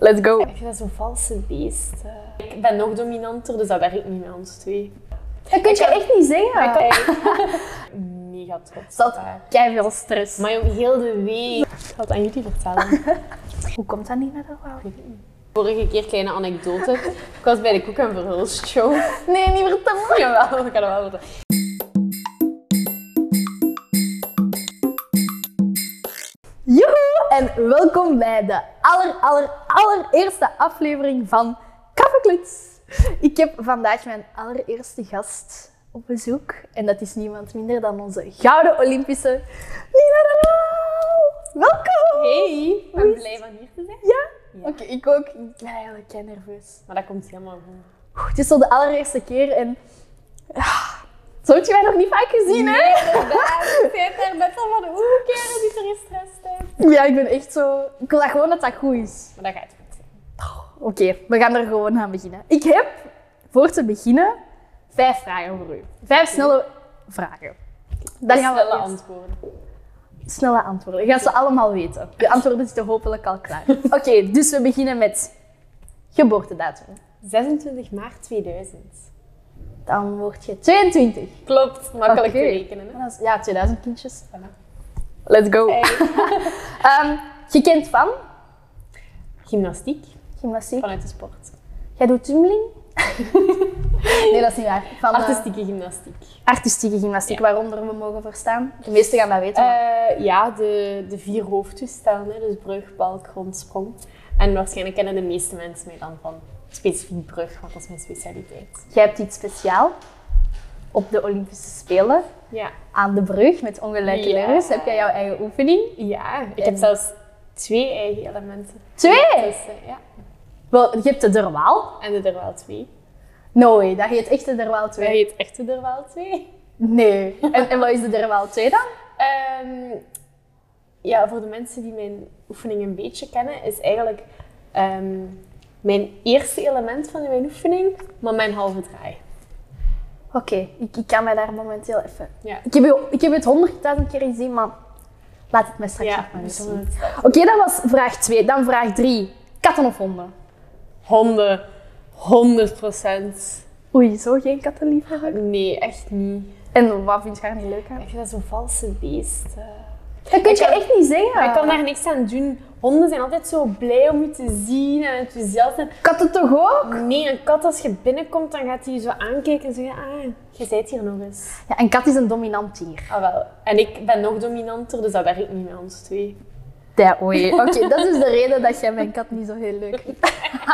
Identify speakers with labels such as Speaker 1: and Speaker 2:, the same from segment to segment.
Speaker 1: Let's go.
Speaker 2: Ik vind dat zo'n valse beest. eh. Ik ben nog dominanter, dus dat werkt niet met ons twee.
Speaker 1: Dat kun je
Speaker 2: kan-
Speaker 1: echt niet zingen.
Speaker 2: Ik ben mega trots
Speaker 1: Dat
Speaker 2: op haar.
Speaker 1: jij veel stress.
Speaker 2: Maar ook heel de week. Ik had aan jullie vertellen.
Speaker 1: hoe komt dat niet naar de vrouw?
Speaker 2: Vorige keer, kleine anekdote. Ik was bij de Koek en Verhulst show.
Speaker 1: Nee, niet vertellen.
Speaker 2: Jawel, ik kan dat wel vertellen.
Speaker 1: Joehoe en welkom bij de aller, aller, allereerste aflevering van Kaffekluts. Ik heb vandaag mijn allereerste gast op bezoek. En dat is niemand minder dan onze gouden Olympische Nina de Waal. Welkom!
Speaker 2: Hey, ik
Speaker 1: Hoe
Speaker 2: ben
Speaker 1: is
Speaker 2: blij van hier te zijn.
Speaker 1: Ja?
Speaker 2: Ja.
Speaker 1: Oké, ik ook. Ik ben eigenlijk kei nerveus.
Speaker 2: Maar dat komt helemaal goed.
Speaker 1: Oeh, Het is zo de allereerste keer en... Ah, zo heb je mij nog niet vaak gezien, hè?
Speaker 2: Ik zit daar net al van, hoe keren die er gestrest uit?
Speaker 1: Ja, ik ben echt zo... Ik wil dat gewoon dat dat goed is.
Speaker 2: Maar dat gaat goed zijn.
Speaker 1: Oké, we gaan er gewoon aan beginnen. Ik heb voor te beginnen vijf vragen voor u. Vijf snelle vragen. Dat gaan we
Speaker 2: Snelle
Speaker 1: eerst-
Speaker 2: antwoorden.
Speaker 1: Snelle antwoorden. Je gaat ze allemaal weten. De antwoorden zitten hopelijk al klaar. Oké, dus we beginnen met geboortedatum.
Speaker 2: 26 maart 2000.
Speaker 1: Dan word je 22.
Speaker 2: Klopt, makkelijk
Speaker 1: Oké.
Speaker 2: te rekenen. Hè?
Speaker 1: Dat is- Ja, 2000 kindjes.
Speaker 2: Voilà.
Speaker 1: Let's go.
Speaker 2: Hey.
Speaker 1: Ehm, je kent van
Speaker 2: Gymnastiek
Speaker 1: gymnastiek.
Speaker 2: vanuit de sport.
Speaker 1: Jij doet tumbling? nee, dat is niet waar. Van, eh,
Speaker 2: Artistieke gymnastiek.
Speaker 1: artistieke gymnastiek, waaronder we mogen verstaan. De meesten gaan dat weten. maar-
Speaker 2: Eh, ja, de, de vier hoofdtoestellen, hè, dus brug, balk, grondsprong. En waarschijnlijk kennen de meeste mensen mij dan van specifiek brug, want dat is mijn specialiteit.
Speaker 1: Jij hebt iets speciaal op de Olympische Spelen
Speaker 2: Ja,
Speaker 1: aan de brug met ongelijke
Speaker 2: Ja.
Speaker 1: letters. Heb jij jouw eigen oefening?
Speaker 2: ja ik
Speaker 1: En-
Speaker 2: heb zelfs twee eigen elementen.
Speaker 1: Twee!
Speaker 2: Dus, eh, ja.
Speaker 1: Wel, je hebt de derwaal.
Speaker 2: En de derwaal 2.
Speaker 1: No way, dat heet echt de derwaal
Speaker 2: Wij
Speaker 1: 2.
Speaker 2: heet echt de derwaal 2.
Speaker 1: Nee. En, en wat is de derwaal 2 dan?
Speaker 2: Ehm, ja, voor de mensen die mijn oefening een beetje kennen, is eigenlijk ehm, mijn eerste element van mijn oefening, maar mijn halve draai.
Speaker 1: Oké, ik, ik kan mij daar momenteel even...
Speaker 2: Ja.
Speaker 1: Ik heb, je- ik heb het honderdduizend keer gezien, maar laat het mij straks
Speaker 2: Ja,
Speaker 1: nog maar eens
Speaker 2: dus
Speaker 1: zien.
Speaker 2: dan het-
Speaker 1: Oké, dat was vraag 2. Dan vraag 3. Katten of honden?
Speaker 2: Honden, 100 procent.
Speaker 1: Oei, zo geen kattenliefhebber.
Speaker 2: Nee, echt niet.
Speaker 1: En wat vind je daar niet leuk aan?
Speaker 2: Ik vind dat zo'n valse beest. eh.
Speaker 1: Dat kun je
Speaker 2: kan-
Speaker 1: echt niet zeggen.
Speaker 2: Ik kan daar niks aan doen. Honden zijn altijd zo blij om je te zien en enthousiast. En
Speaker 1: Katten toch ook?
Speaker 2: nee, een kat als je binnenkomt, dan gaat hij je zo aankijken en zeggen, ah, je bent hier nog eens.
Speaker 1: Ja, een kat is een dominant dier.
Speaker 2: Ah wel. En ik ben nog dominanter, dus dat werkt niet met ons twee.
Speaker 1: Ja, oei. Oké, dat is de reden dat jij mijn kat niet zo heel leuk vindt.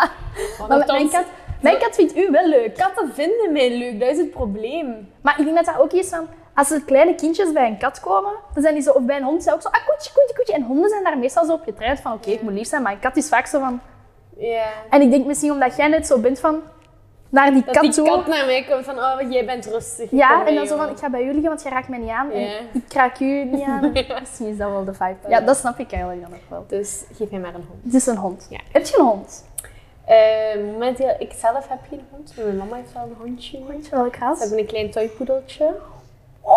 Speaker 1: Maar
Speaker 2: Want
Speaker 1: mijn,
Speaker 2: althans,
Speaker 1: kat, mijn kat vindt u wel leuk.
Speaker 2: katten vinden mij leuk, dat is het probleem.
Speaker 1: Maar ik denk dat dat ook is van... Als er kleine kindjes bij een kat komen, dan zijn die zo... Of bij een hond zijn ook zo... Ah, koetje, koetje, koetje. En honden zijn daar meestal zo op getraind van... Oké, ik moet lief zijn. Maar een kat is vaak zo van...
Speaker 2: Ja.
Speaker 1: En ik denk misschien omdat jij net zo bent van... Naar die
Speaker 2: Dat
Speaker 1: kat
Speaker 2: die
Speaker 1: toe.
Speaker 2: kat naar mij komt van, oh, jij bent rustig. Oh,
Speaker 1: Ja,
Speaker 2: kom
Speaker 1: en
Speaker 2: mee,
Speaker 1: dan zo van...
Speaker 2: hoor.
Speaker 1: Ik ga bij jullie liggen, want jij raakt mij niet aan.
Speaker 2: Ja.
Speaker 1: En ik raak u niet aan. Misschien is dat wel de vibe. Ja, dat snap ik eigenlijk dan ook wel.
Speaker 2: Dus geef mij maar een hond.
Speaker 1: Het is een hond.
Speaker 2: Ja.
Speaker 1: Heb je een hond?
Speaker 2: Eh, momenteel, ik zelf heb geen hond, maar mijn mama heeft wel een hondje.
Speaker 1: Weet je welk ras?
Speaker 2: Ze hebben een klein toypoedeltje.
Speaker 1: Oh,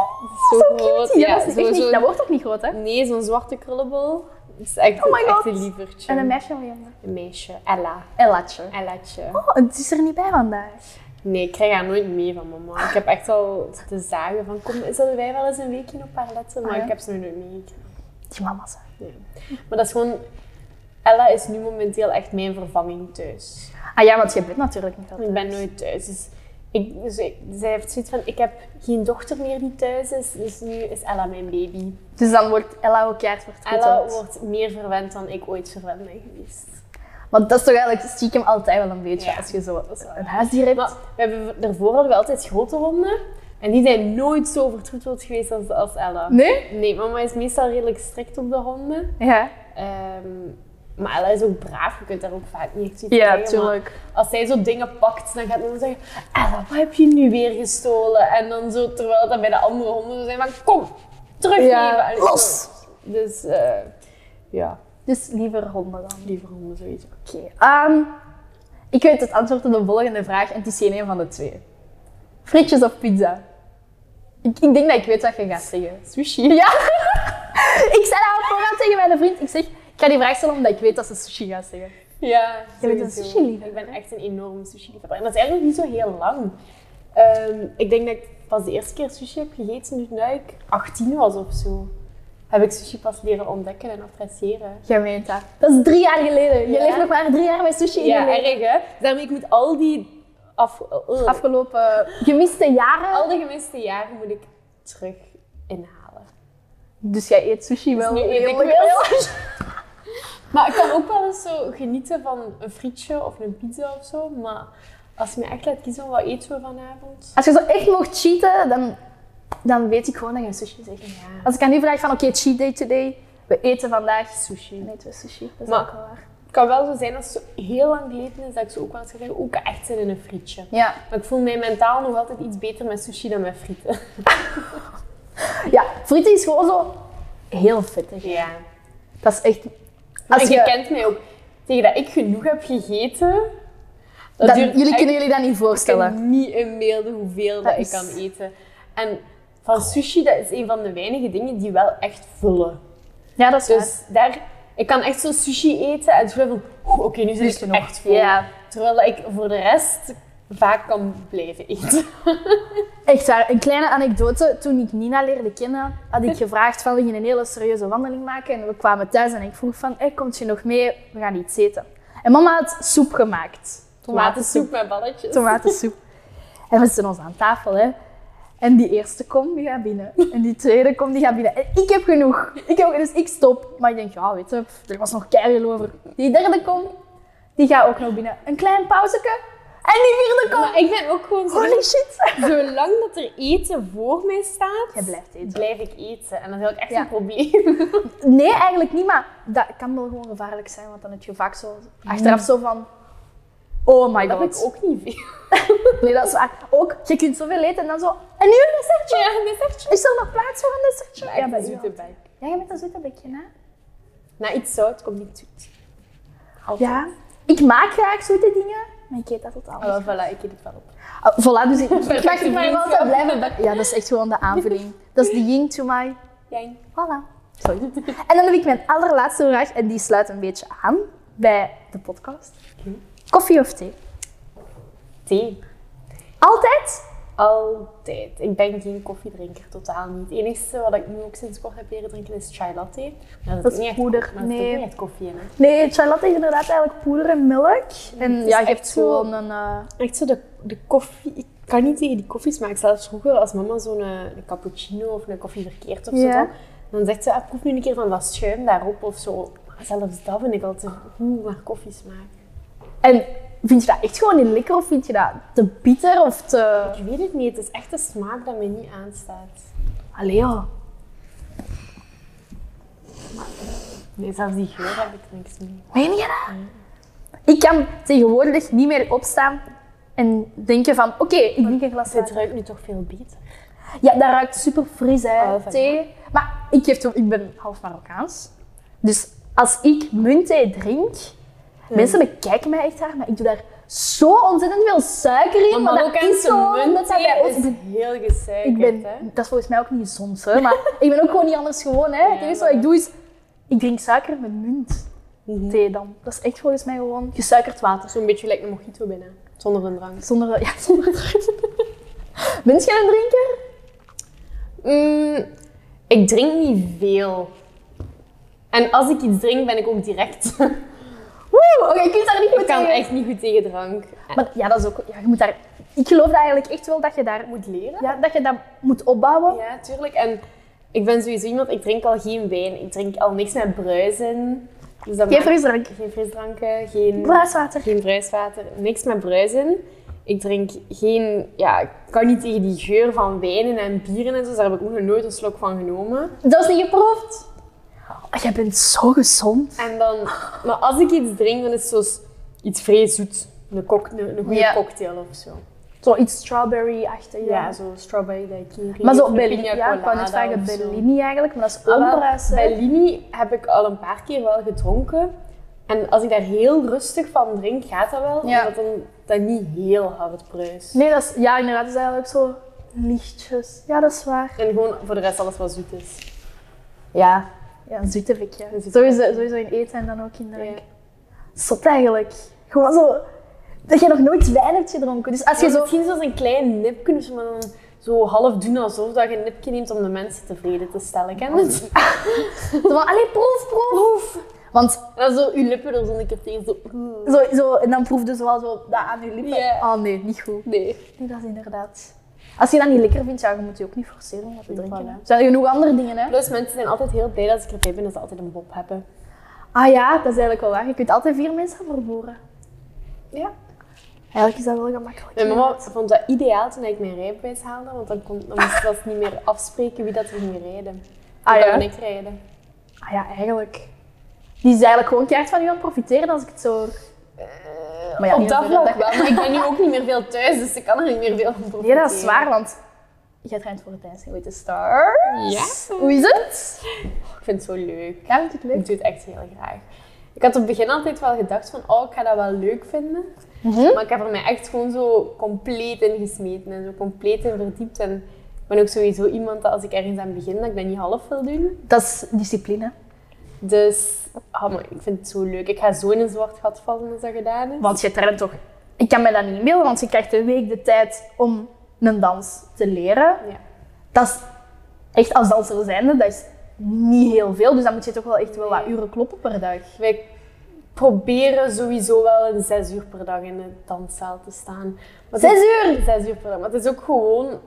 Speaker 2: Zo
Speaker 1: zo
Speaker 2: groot,
Speaker 1: cute. Ja,
Speaker 2: ja,
Speaker 1: dat, is
Speaker 2: zo-
Speaker 1: echt niet,
Speaker 2: zo-
Speaker 1: dat wordt ook niet groot, hè?
Speaker 2: Nee, zo'n zwarte krullenbol. Het is echt,
Speaker 1: Oh my
Speaker 2: echt
Speaker 1: God.
Speaker 2: een lievertje.
Speaker 1: En een meisje of een jongen?
Speaker 2: Een meisje, Ella.
Speaker 1: Ellatje.
Speaker 2: Ellatje.
Speaker 1: Oh, het is er niet bij vandaag.
Speaker 2: Nee, ik krijg haar nooit mee van mama. Ik heb echt al te zagen van, kom, zullen wij wel eens een weekje op haar letten? Maar
Speaker 1: Ah, ja.
Speaker 2: ik heb ze nog nooit meegekregen.
Speaker 1: Die mama's. hè.
Speaker 2: Nee. Maar dat is gewoon... Ella is nu momenteel echt mijn vervanging thuis.
Speaker 1: Ah ja, want je bent natuurlijk niet altijd.
Speaker 2: Ik ben nooit thuis, dus... Ik, dus ik- zij heeft zoiets van, ik heb geen dochter meer die thuis is, dus nu is Ella mijn baby.
Speaker 1: Dus dan wordt Ella ook jaartwoord
Speaker 2: Ella
Speaker 1: geteld.
Speaker 2: wordt meer verwend dan ik ooit verwend ben geweest.
Speaker 1: Want dat is toch eigenlijk stiekem altijd wel een beetje
Speaker 2: Ja.
Speaker 1: als je zo een huisdier hebt.
Speaker 2: Maar we hebben, daarvoor hadden we altijd grote honden. En die zijn nooit zo vertroeteld geweest als, als Ella.
Speaker 1: Nee?
Speaker 2: Nee, mama is meestal redelijk strikt op de honden.
Speaker 1: Ja.
Speaker 2: Ehm, maar Ella is ook braaf, je kunt daar ook vaak niet echt iets
Speaker 1: Ja,
Speaker 2: zeggen, maar
Speaker 1: tuurlijk.
Speaker 2: Als zij zo dingen pakt, dan gaat mama zeggen... Ella, wat heb je nu weer gestolen? En dan zo, terwijl dat bij de andere honden zo zijn van... Kom, teruggeven!
Speaker 1: Ja,
Speaker 2: En zo.
Speaker 1: los!
Speaker 2: Dus eh, ja,
Speaker 1: Dus liever honden dan.
Speaker 2: liever honden sowieso.
Speaker 1: Oké. ehm, ik weet het antwoord op de volgende vraag en het is geen een van de twee. Frietjes of pizza? Ik, ik denk dat ik weet wat je gaat zeggen.
Speaker 2: Sushi.
Speaker 1: Ja! ik zei dat al vooraan tegen mijn vriend. Ik zeg, ik ga die vraag stellen omdat ik weet dat ze sushi gaat zeggen.
Speaker 2: Ja,
Speaker 1: Je bent een
Speaker 2: sowieso.
Speaker 1: sushi-liefhebber,
Speaker 2: Ik ben echt een enorme sushi-liefhebber. En dat is eigenlijk niet zo heel lang. Ehm, ik denk dat ik pas de eerste keer sushi heb gegeten toen ik 18 was of zo. Heb ik sushi pas leren ontdekken en appreciëren.
Speaker 1: Jij weet dat. Dat is drie jaar geleden. Je
Speaker 2: Ja.
Speaker 1: leeft nog maar drie jaar met sushi in
Speaker 2: Ja,
Speaker 1: je leven.
Speaker 2: erg hè? Dus Daarmee, ik moet al die, af, eh,
Speaker 1: Afgelopen gemiste jaren.
Speaker 2: al die gemiste jaren moet ik terug inhalen.
Speaker 1: Dus jij eet sushi
Speaker 2: Dus
Speaker 1: wel
Speaker 2: nu eet ik
Speaker 1: redelijk
Speaker 2: wel
Speaker 1: veel.
Speaker 2: Maar ik kan ook wel eens zo genieten van een frietje of een pizza of zo. Maar als je me echt laat kiezen, wat eten we vanavond?
Speaker 1: Als je zo echt mocht cheaten, dan, dan weet ik gewoon dat je sushi zegt.
Speaker 2: Ja,
Speaker 1: Als ik aan u vraag van oké, cheat day today, we eten vandaag
Speaker 2: sushi.
Speaker 1: Nee, het was sushi. Dat is
Speaker 2: Maar-
Speaker 1: ook wel waar.
Speaker 2: Het kan wel zo zijn als het zo heel lang geleden is dat ik zo ook wel eens gezegd ook echt zin in een frietje.
Speaker 1: Ja.
Speaker 2: Maar ik voel mij mentaal nog altijd iets beter met sushi dan met frieten.
Speaker 1: ja, frieten is gewoon zo heel vettig.
Speaker 2: Ja.
Speaker 1: Dat is echt... Als
Speaker 2: en je...
Speaker 1: je,
Speaker 2: kent mij ook. Tegen dat ik genoeg heb gegeten, dat
Speaker 1: dan,
Speaker 2: duurt
Speaker 1: jullie
Speaker 2: echt-
Speaker 1: kunnen jullie dat niet
Speaker 2: ik kan
Speaker 1: voorstellen.
Speaker 2: niet inbeelden hoeveel dat,
Speaker 1: Dat
Speaker 2: ik
Speaker 1: is-
Speaker 2: kan eten. En van sushi, dat is een van de weinige dingen die wel echt vullen.
Speaker 1: Ja, dat is waar.
Speaker 2: Dus daar, ik kan echt zo sushi eten en zo van, "Oeh, oké, nu
Speaker 1: Nu
Speaker 2: zit
Speaker 1: is
Speaker 2: ik
Speaker 1: het genoeg."
Speaker 2: echt vol.
Speaker 1: Ja.
Speaker 2: Terwijl dat ik voor de rest vaak kan blijven eten.
Speaker 1: Echt waar, een kleine anekdote. Toen ik Nina leerde kennen, had ik gevraagd van we gaan een hele serieuze wandeling maken. En we kwamen thuis en ik vroeg van, hey, komt je nog mee? We gaan iets eten. En mama had soep gemaakt.
Speaker 2: Tomatensoep met balletjes.
Speaker 1: Tomatensoep. En we zitten ons aan tafel, hè. En die eerste kom, die gaat binnen. En die tweede kom, die gaat binnen. En ik heb genoeg. Ik heb, dus ik stop. Maar ik denk, ja, weet je, pff, er was nog keihard over. Die derde kom, die gaat ook nog binnen. Een klein pauzeke. En die vierde kom.
Speaker 2: Maar ik ben ook gewoon zo...
Speaker 1: Holy shit.
Speaker 2: Zolang dat er eten voor mij staat,
Speaker 1: Jij blijft eten.
Speaker 2: blijf ik eten. En dat is ook echt
Speaker 1: Ja. Oh
Speaker 2: een probleem.
Speaker 1: Nee, eigenlijk niet, maar dat kan wel gewoon gevaarlijk zijn, want dan heb je vaak zo achteraf zo van. Oh my
Speaker 2: Dat heb ik
Speaker 1: god.
Speaker 2: ook niet veel.
Speaker 1: Nee, dat is waar. Ook, je kunt zoveel eten en dan zo. En nu een dessertje.
Speaker 2: Ja, een dessertje.
Speaker 1: Is er nog plaats voor een dessertje?
Speaker 2: Ja,
Speaker 1: bij
Speaker 2: een
Speaker 1: u
Speaker 2: zoete
Speaker 1: altijd.
Speaker 2: bek.
Speaker 1: Ja, jij bent een zoete bekje, hè?
Speaker 2: Na iets zout komt niet zoet. Altijd.
Speaker 1: Ja. Ik maak graag zoete dingen, maar ik eet dat tot alles.
Speaker 2: Oh, voilà, ik eet het wel op.
Speaker 1: Ah, voilà, dus ik, ik mag
Speaker 2: Perfecte
Speaker 1: het mij wel
Speaker 2: vriendschap.
Speaker 1: altijd blijven bakken. Ja, dat is echt gewoon de aanvulling. Dat is de yin to my.
Speaker 2: Jij?
Speaker 1: Voilà. Sorry. En dan heb ik mijn allerlaatste vraag, en die sluit een beetje aan bij de podcast.
Speaker 2: Oké.
Speaker 1: Koffie of thee?
Speaker 2: Thee.
Speaker 1: Altijd?
Speaker 2: Altijd. Ik ben geen koffiedrinker, totaal niet. Het enige wat ik nu ook sinds kort heb leren drinken is chai latte. Maar dat,
Speaker 1: Dat
Speaker 2: is
Speaker 1: is
Speaker 2: niet echt,
Speaker 1: poeder,
Speaker 2: maar dat is
Speaker 1: nee.
Speaker 2: ook niet echt koffie in. hè.
Speaker 1: Nee, chai latte is inderdaad eigenlijk poeder en melk. En
Speaker 2: is
Speaker 1: ja, je
Speaker 2: echt
Speaker 1: hebt
Speaker 2: zo-
Speaker 1: gewoon een... eh,
Speaker 2: Echt zo de, de koffie. Ik kan niet tegen die koffies, maar ik zelfs vroeger als mama zo'n eh, een cappuccino of een koffie verkeerd of zo
Speaker 1: Ja.
Speaker 2: dronk, dan zegt ze, ah, proef nu een keer van dat schuim daarop of zo. Maar zelfs dat vind ik altijd, oeh, maar koffie smaakt.
Speaker 1: En vind je dat echt gewoon niet lekker of vind je dat te bitter of te...
Speaker 2: Ik weet het niet, het is echt de smaak dat mij niet aanstaat.
Speaker 1: Allee, oh.
Speaker 2: Nee, zelfs die geur heb ik niks mee.
Speaker 1: Meen je dat? Ik kan tegenwoordig niet meer opstaan en denken van, oké, ik drink een glas
Speaker 2: Het
Speaker 1: water.
Speaker 2: ruikt nu toch veel beter.
Speaker 1: Ja, dat ruikt super fris, hè,
Speaker 2: Oh, van-
Speaker 1: thee. Maar ik, geef toe, ik ben half Marokkaans. Dus als ik muntthee drink, mensen bekijken mij echt raar, maar ik doe daar zo ontzettend veel suiker in. Maar dat is gewoon omdat dat bij ons...
Speaker 2: heel gezeikerd,
Speaker 1: Ik ben,
Speaker 2: hè.
Speaker 1: dat is volgens mij ook niet gezond, hè? maar ik ben ook gewoon niet anders gewoon. Hè? het enige wat ik doe is, ik drink suiker met munt.
Speaker 2: Mhm.
Speaker 1: Thee dan. Dat is echt volgens mij gewoon gesuikerd water.
Speaker 2: Zo'n beetje lijkt een mojito binnen, zonder een drank.
Speaker 1: Zonder, ja, zonder drank. Ben jij een drinker?
Speaker 2: Mm, ik drink niet veel. En als ik iets drink, ben ik ook direct.
Speaker 1: Woe, oké, je kunt daar niet
Speaker 2: ik
Speaker 1: goed
Speaker 2: kan
Speaker 1: tegen.
Speaker 2: echt niet goed tegen drank. En
Speaker 1: Maar ja, dat is ook, ja, je moet daar, ik geloof dat eigenlijk echt wel dat je daar
Speaker 2: ik moet leren.
Speaker 1: ja, dat je dat moet opbouwen.
Speaker 2: Ja, tuurlijk. En ik ben sowieso iemand, ik drink al geen wijn. Ik drink al niks met bruisen. Dus dat
Speaker 1: Geen
Speaker 2: maakt-
Speaker 1: frisdrank.
Speaker 2: geen frisdranken, geen...
Speaker 1: Blaaswater.
Speaker 2: Geen bruiswater, niks met bruisen. Ik drink geen, ja, ik kan niet tegen die geur van wijnen en bieren en zo, dus daar heb ik ook nog nooit een slok van genomen.
Speaker 1: Dat is niet geproefd. Oh, jij bent zo gezond.
Speaker 2: En dan, maar als ik iets drink, dan is het zo iets vrij zoet. Een, kok, een, een goede
Speaker 1: Ja.
Speaker 2: cocktail of zo.
Speaker 1: Zoiets strawberry-achtig.
Speaker 2: Ja, zo strawberry daiquiri.
Speaker 1: Maar
Speaker 2: of
Speaker 1: zo
Speaker 2: een
Speaker 1: Bellini,
Speaker 2: pina
Speaker 1: ja, ik wou net
Speaker 2: colada
Speaker 1: zeggen
Speaker 2: of zo.
Speaker 1: Bellini eigenlijk, maar dat is
Speaker 2: Ah, wel,
Speaker 1: ombruis. hè.
Speaker 2: Bellini heb ik al een paar keer wel gedronken. En als ik daar heel rustig van drink, gaat dat wel.
Speaker 1: Ja.
Speaker 2: Omdat dan, dat niet heel hard bruist.
Speaker 1: Nee, dat is, ja, inderdaad, dat is eigenlijk zo lichtjes. Ja, dat is waar.
Speaker 2: En gewoon voor de rest alles wat zoet is.
Speaker 1: Ja. Ja, een zoete vikje.
Speaker 2: Een zoete
Speaker 1: Sowieso, sowieso in eten en dan ook in
Speaker 2: Ja.
Speaker 1: drank. Zot eigenlijk. Gewoon zo... Dat jij nog nooit wijn hebt gedronken. Dus als je zo...
Speaker 2: Misschien zoals een klein nipje, dus maar dan zo half doen alsof dat je een nipje neemt om de mensen tevreden te stellen. Ken je het?
Speaker 1: zo van, allee, proef, proef. Want
Speaker 2: En dan zo je lippen er zo een keer tegen, zo... mm.
Speaker 1: zo, zo... En dan proef je wel zo dat aan je lippen.
Speaker 2: Ja.
Speaker 1: Oh nee, niet goed.
Speaker 2: Nee.
Speaker 1: Nee, dat is inderdaad... Als je dat niet lekker vindt, ja, je moet je ook niet forceren om dat te drinken.
Speaker 2: Voilà.
Speaker 1: hè. Er zijn genoeg andere dingen, hè.
Speaker 2: Plus, mensen zijn altijd heel blij dat ik erbij ben, dat ze altijd een bob hebben.
Speaker 1: Ah ja, dat is eigenlijk wel waar. Je kunt altijd vier mensen verboren.
Speaker 2: Ja.
Speaker 1: Eigenlijk is dat wel gemakkelijk.
Speaker 2: Mijn
Speaker 1: ja.
Speaker 2: mama vond dat ideaal toen ik mijn rijbewijs haalde, want dan, kon, dan moest ik niet meer afspreken wie dat er ging rijden.
Speaker 1: Ah,
Speaker 2: Dan
Speaker 1: ja?
Speaker 2: kon ik rijden.
Speaker 1: Ah ja, eigenlijk. Die is eigenlijk gewoon keihard van u aan het profiteren als ik het zo eh, hoor. maar ja,
Speaker 2: Op
Speaker 1: heel
Speaker 2: dat
Speaker 1: veel-
Speaker 2: vlak wel, maar ik ben nu ook niet meer veel thuis, dus ik kan er niet meer veel van
Speaker 1: Nee, dat is
Speaker 2: profiteren.
Speaker 1: zwaar, want jij traint voor het Dancing with the Stars.
Speaker 2: Ja.
Speaker 1: Hoe is het?
Speaker 2: Ik vind het zo leuk.
Speaker 1: Ja, vind ik het
Speaker 2: Ik doe het echt heel graag. Ik had op het begin altijd wel gedacht van, oh, ik ga dat wel leuk vinden.
Speaker 1: Mhm.
Speaker 2: Maar ik heb er mij echt gewoon zo compleet in gesmeten en zo compleet in verdiept. En ik ben ook sowieso iemand dat als ik ergens aan begin, dat ik dat niet half wil doen.
Speaker 1: Dat is discipline.
Speaker 2: Dus, ah, maar ik vind het zo leuk. Ik ga zo in een zwart gat vallen als dat gedaan is.
Speaker 1: Want je traint toch... Ik kan me dat niet inbeelden, want je krijgt een week de tijd om een dans te leren.
Speaker 2: Ja.
Speaker 1: Dat is echt als danser zijnde, dat is niet heel veel. Dus dan moet je toch wel echt wel wat
Speaker 2: Nee.
Speaker 1: uren kloppen per dag.
Speaker 2: Wij proberen sowieso wel een zes uur per dag in de danszaal te staan. Maar het
Speaker 1: Zes
Speaker 2: is-
Speaker 1: uur?
Speaker 2: Zes uur per dag. Maar het is ook gewoon,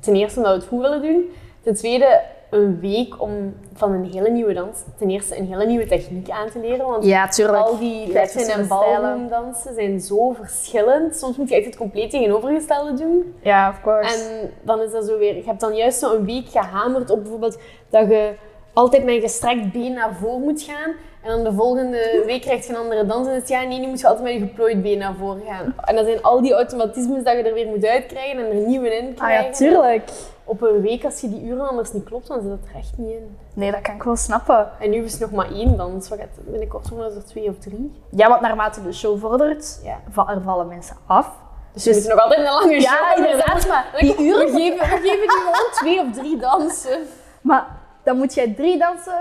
Speaker 2: ten eerste omdat we het goed willen doen. Ten tweede, een week om van een hele nieuwe dans, ten eerste een hele nieuwe techniek aan te leren. Want
Speaker 1: Ja, tuurlijk.
Speaker 2: al die
Speaker 1: Vijf
Speaker 2: lessen en
Speaker 1: verschillende stijlen.
Speaker 2: ballroomdansen zijn zo verschillend. Soms moet je echt het compleet tegenovergestelde doen.
Speaker 1: Ja, of course.
Speaker 2: En dan is dat zo weer. Je hebt dan juist zo een week gehamerd op bijvoorbeeld dat je altijd met een gestrekt been naar voren moet gaan. En dan de volgende week krijg je een andere dans. En dan is het, ja, nee, nu moet je altijd met je geplooid been naar voren gaan. En dan zijn al die automatismes dat je er weer moet uitkrijgen en er nieuwe in
Speaker 1: ah ja,
Speaker 2: krijgen.
Speaker 1: tuurlijk.
Speaker 2: Op een week, als je die uren anders niet klopt, dan zit dat er echt niet in.
Speaker 1: Nee, dat kan ik wel snappen.
Speaker 2: En nu is het nog maar één dans. Wat gaat het binnenkort worden? Er twee of drie.
Speaker 1: Ja, want naarmate de show vordert,
Speaker 2: Ja.
Speaker 1: va- er vallen mensen af.
Speaker 2: Dus we moeten nog altijd een lange show
Speaker 1: Ja,
Speaker 2: hebben.
Speaker 1: inderdaad, maar
Speaker 2: Dan-
Speaker 1: die
Speaker 2: We
Speaker 1: uren...
Speaker 2: geven, we geven die gewoon twee of drie dansen.
Speaker 1: Maar dan moet jij drie dansen...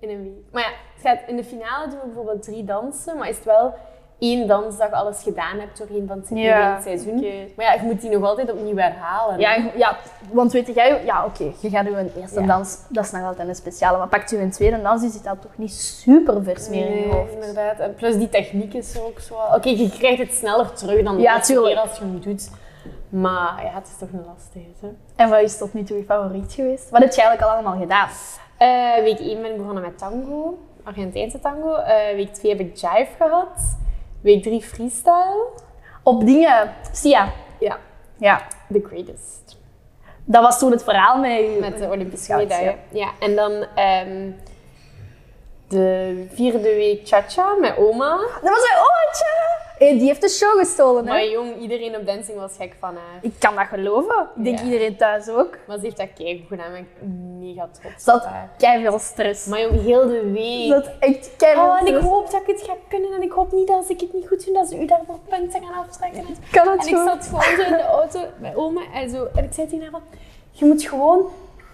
Speaker 2: in een week. Maar ja, het gaat, in de finale doen we bijvoorbeeld drie dansen, maar is het wel één dans dat je alles gedaan hebt doorheen van het,
Speaker 1: Ja,
Speaker 2: doorheen het seizoen.
Speaker 1: oké.
Speaker 2: Maar ja, je moet die nog altijd opnieuw herhalen.
Speaker 1: Ja, ja, want weet jij... Ja, oké, je gaat je eerste
Speaker 2: Ja.
Speaker 1: dans, dat is nog altijd een speciale. Maar pakt u een tweede dans, die zit dat toch niet super vers meer in je
Speaker 2: Nee,
Speaker 1: hoofd.
Speaker 2: inderdaad. En plus die techniek is ook zo... Oké, je krijgt het sneller terug dan de
Speaker 1: Ja,
Speaker 2: eerste
Speaker 1: tuurlijk.
Speaker 2: keer als je hem doet. Maar ja, het is toch een lastige. Hè?
Speaker 1: En wat is tot nu toe je favoriet geweest? Wat heb je eigenlijk al allemaal gedaan?
Speaker 2: Eh, week 1 ben ik begonnen met tango, Argentijnse tango. Eh, week 2 heb ik jive gehad. Week 3 freestyle.
Speaker 1: Op dingen... Sia.
Speaker 2: Ja,
Speaker 1: Ja.
Speaker 2: the greatest.
Speaker 1: Dat was toen het verhaal met...
Speaker 2: Met de Olympische
Speaker 1: Schaatsen,
Speaker 2: medaille. Ja, en dan ehm, de vierde week cha-cha met oma.
Speaker 1: Dat was mijn omaatje! Hey, die heeft de show gestolen, hè?
Speaker 2: Maar jong, iedereen op dancing was gek van haar.
Speaker 1: Ik kan dat geloven. Ik denk
Speaker 2: Ja.
Speaker 1: iedereen thuis ook.
Speaker 2: Maar ze heeft dat keigoed gedaan. Ik ben mega trots
Speaker 1: Ze
Speaker 2: op
Speaker 1: had
Speaker 2: haar.
Speaker 1: veel stress.
Speaker 2: Maar jong, heel de week.
Speaker 1: Dat is echt keihard.
Speaker 2: Oh, en ik hoop dat ik het ga kunnen. En ik hoop niet dat als ik het niet goed doe, dat ze u daarvoor punten gaan aftrekken.
Speaker 1: kan het
Speaker 2: En ik zat gewoon zo in de auto bij oma en zo. En ik zei tegen haar van, je moet gewoon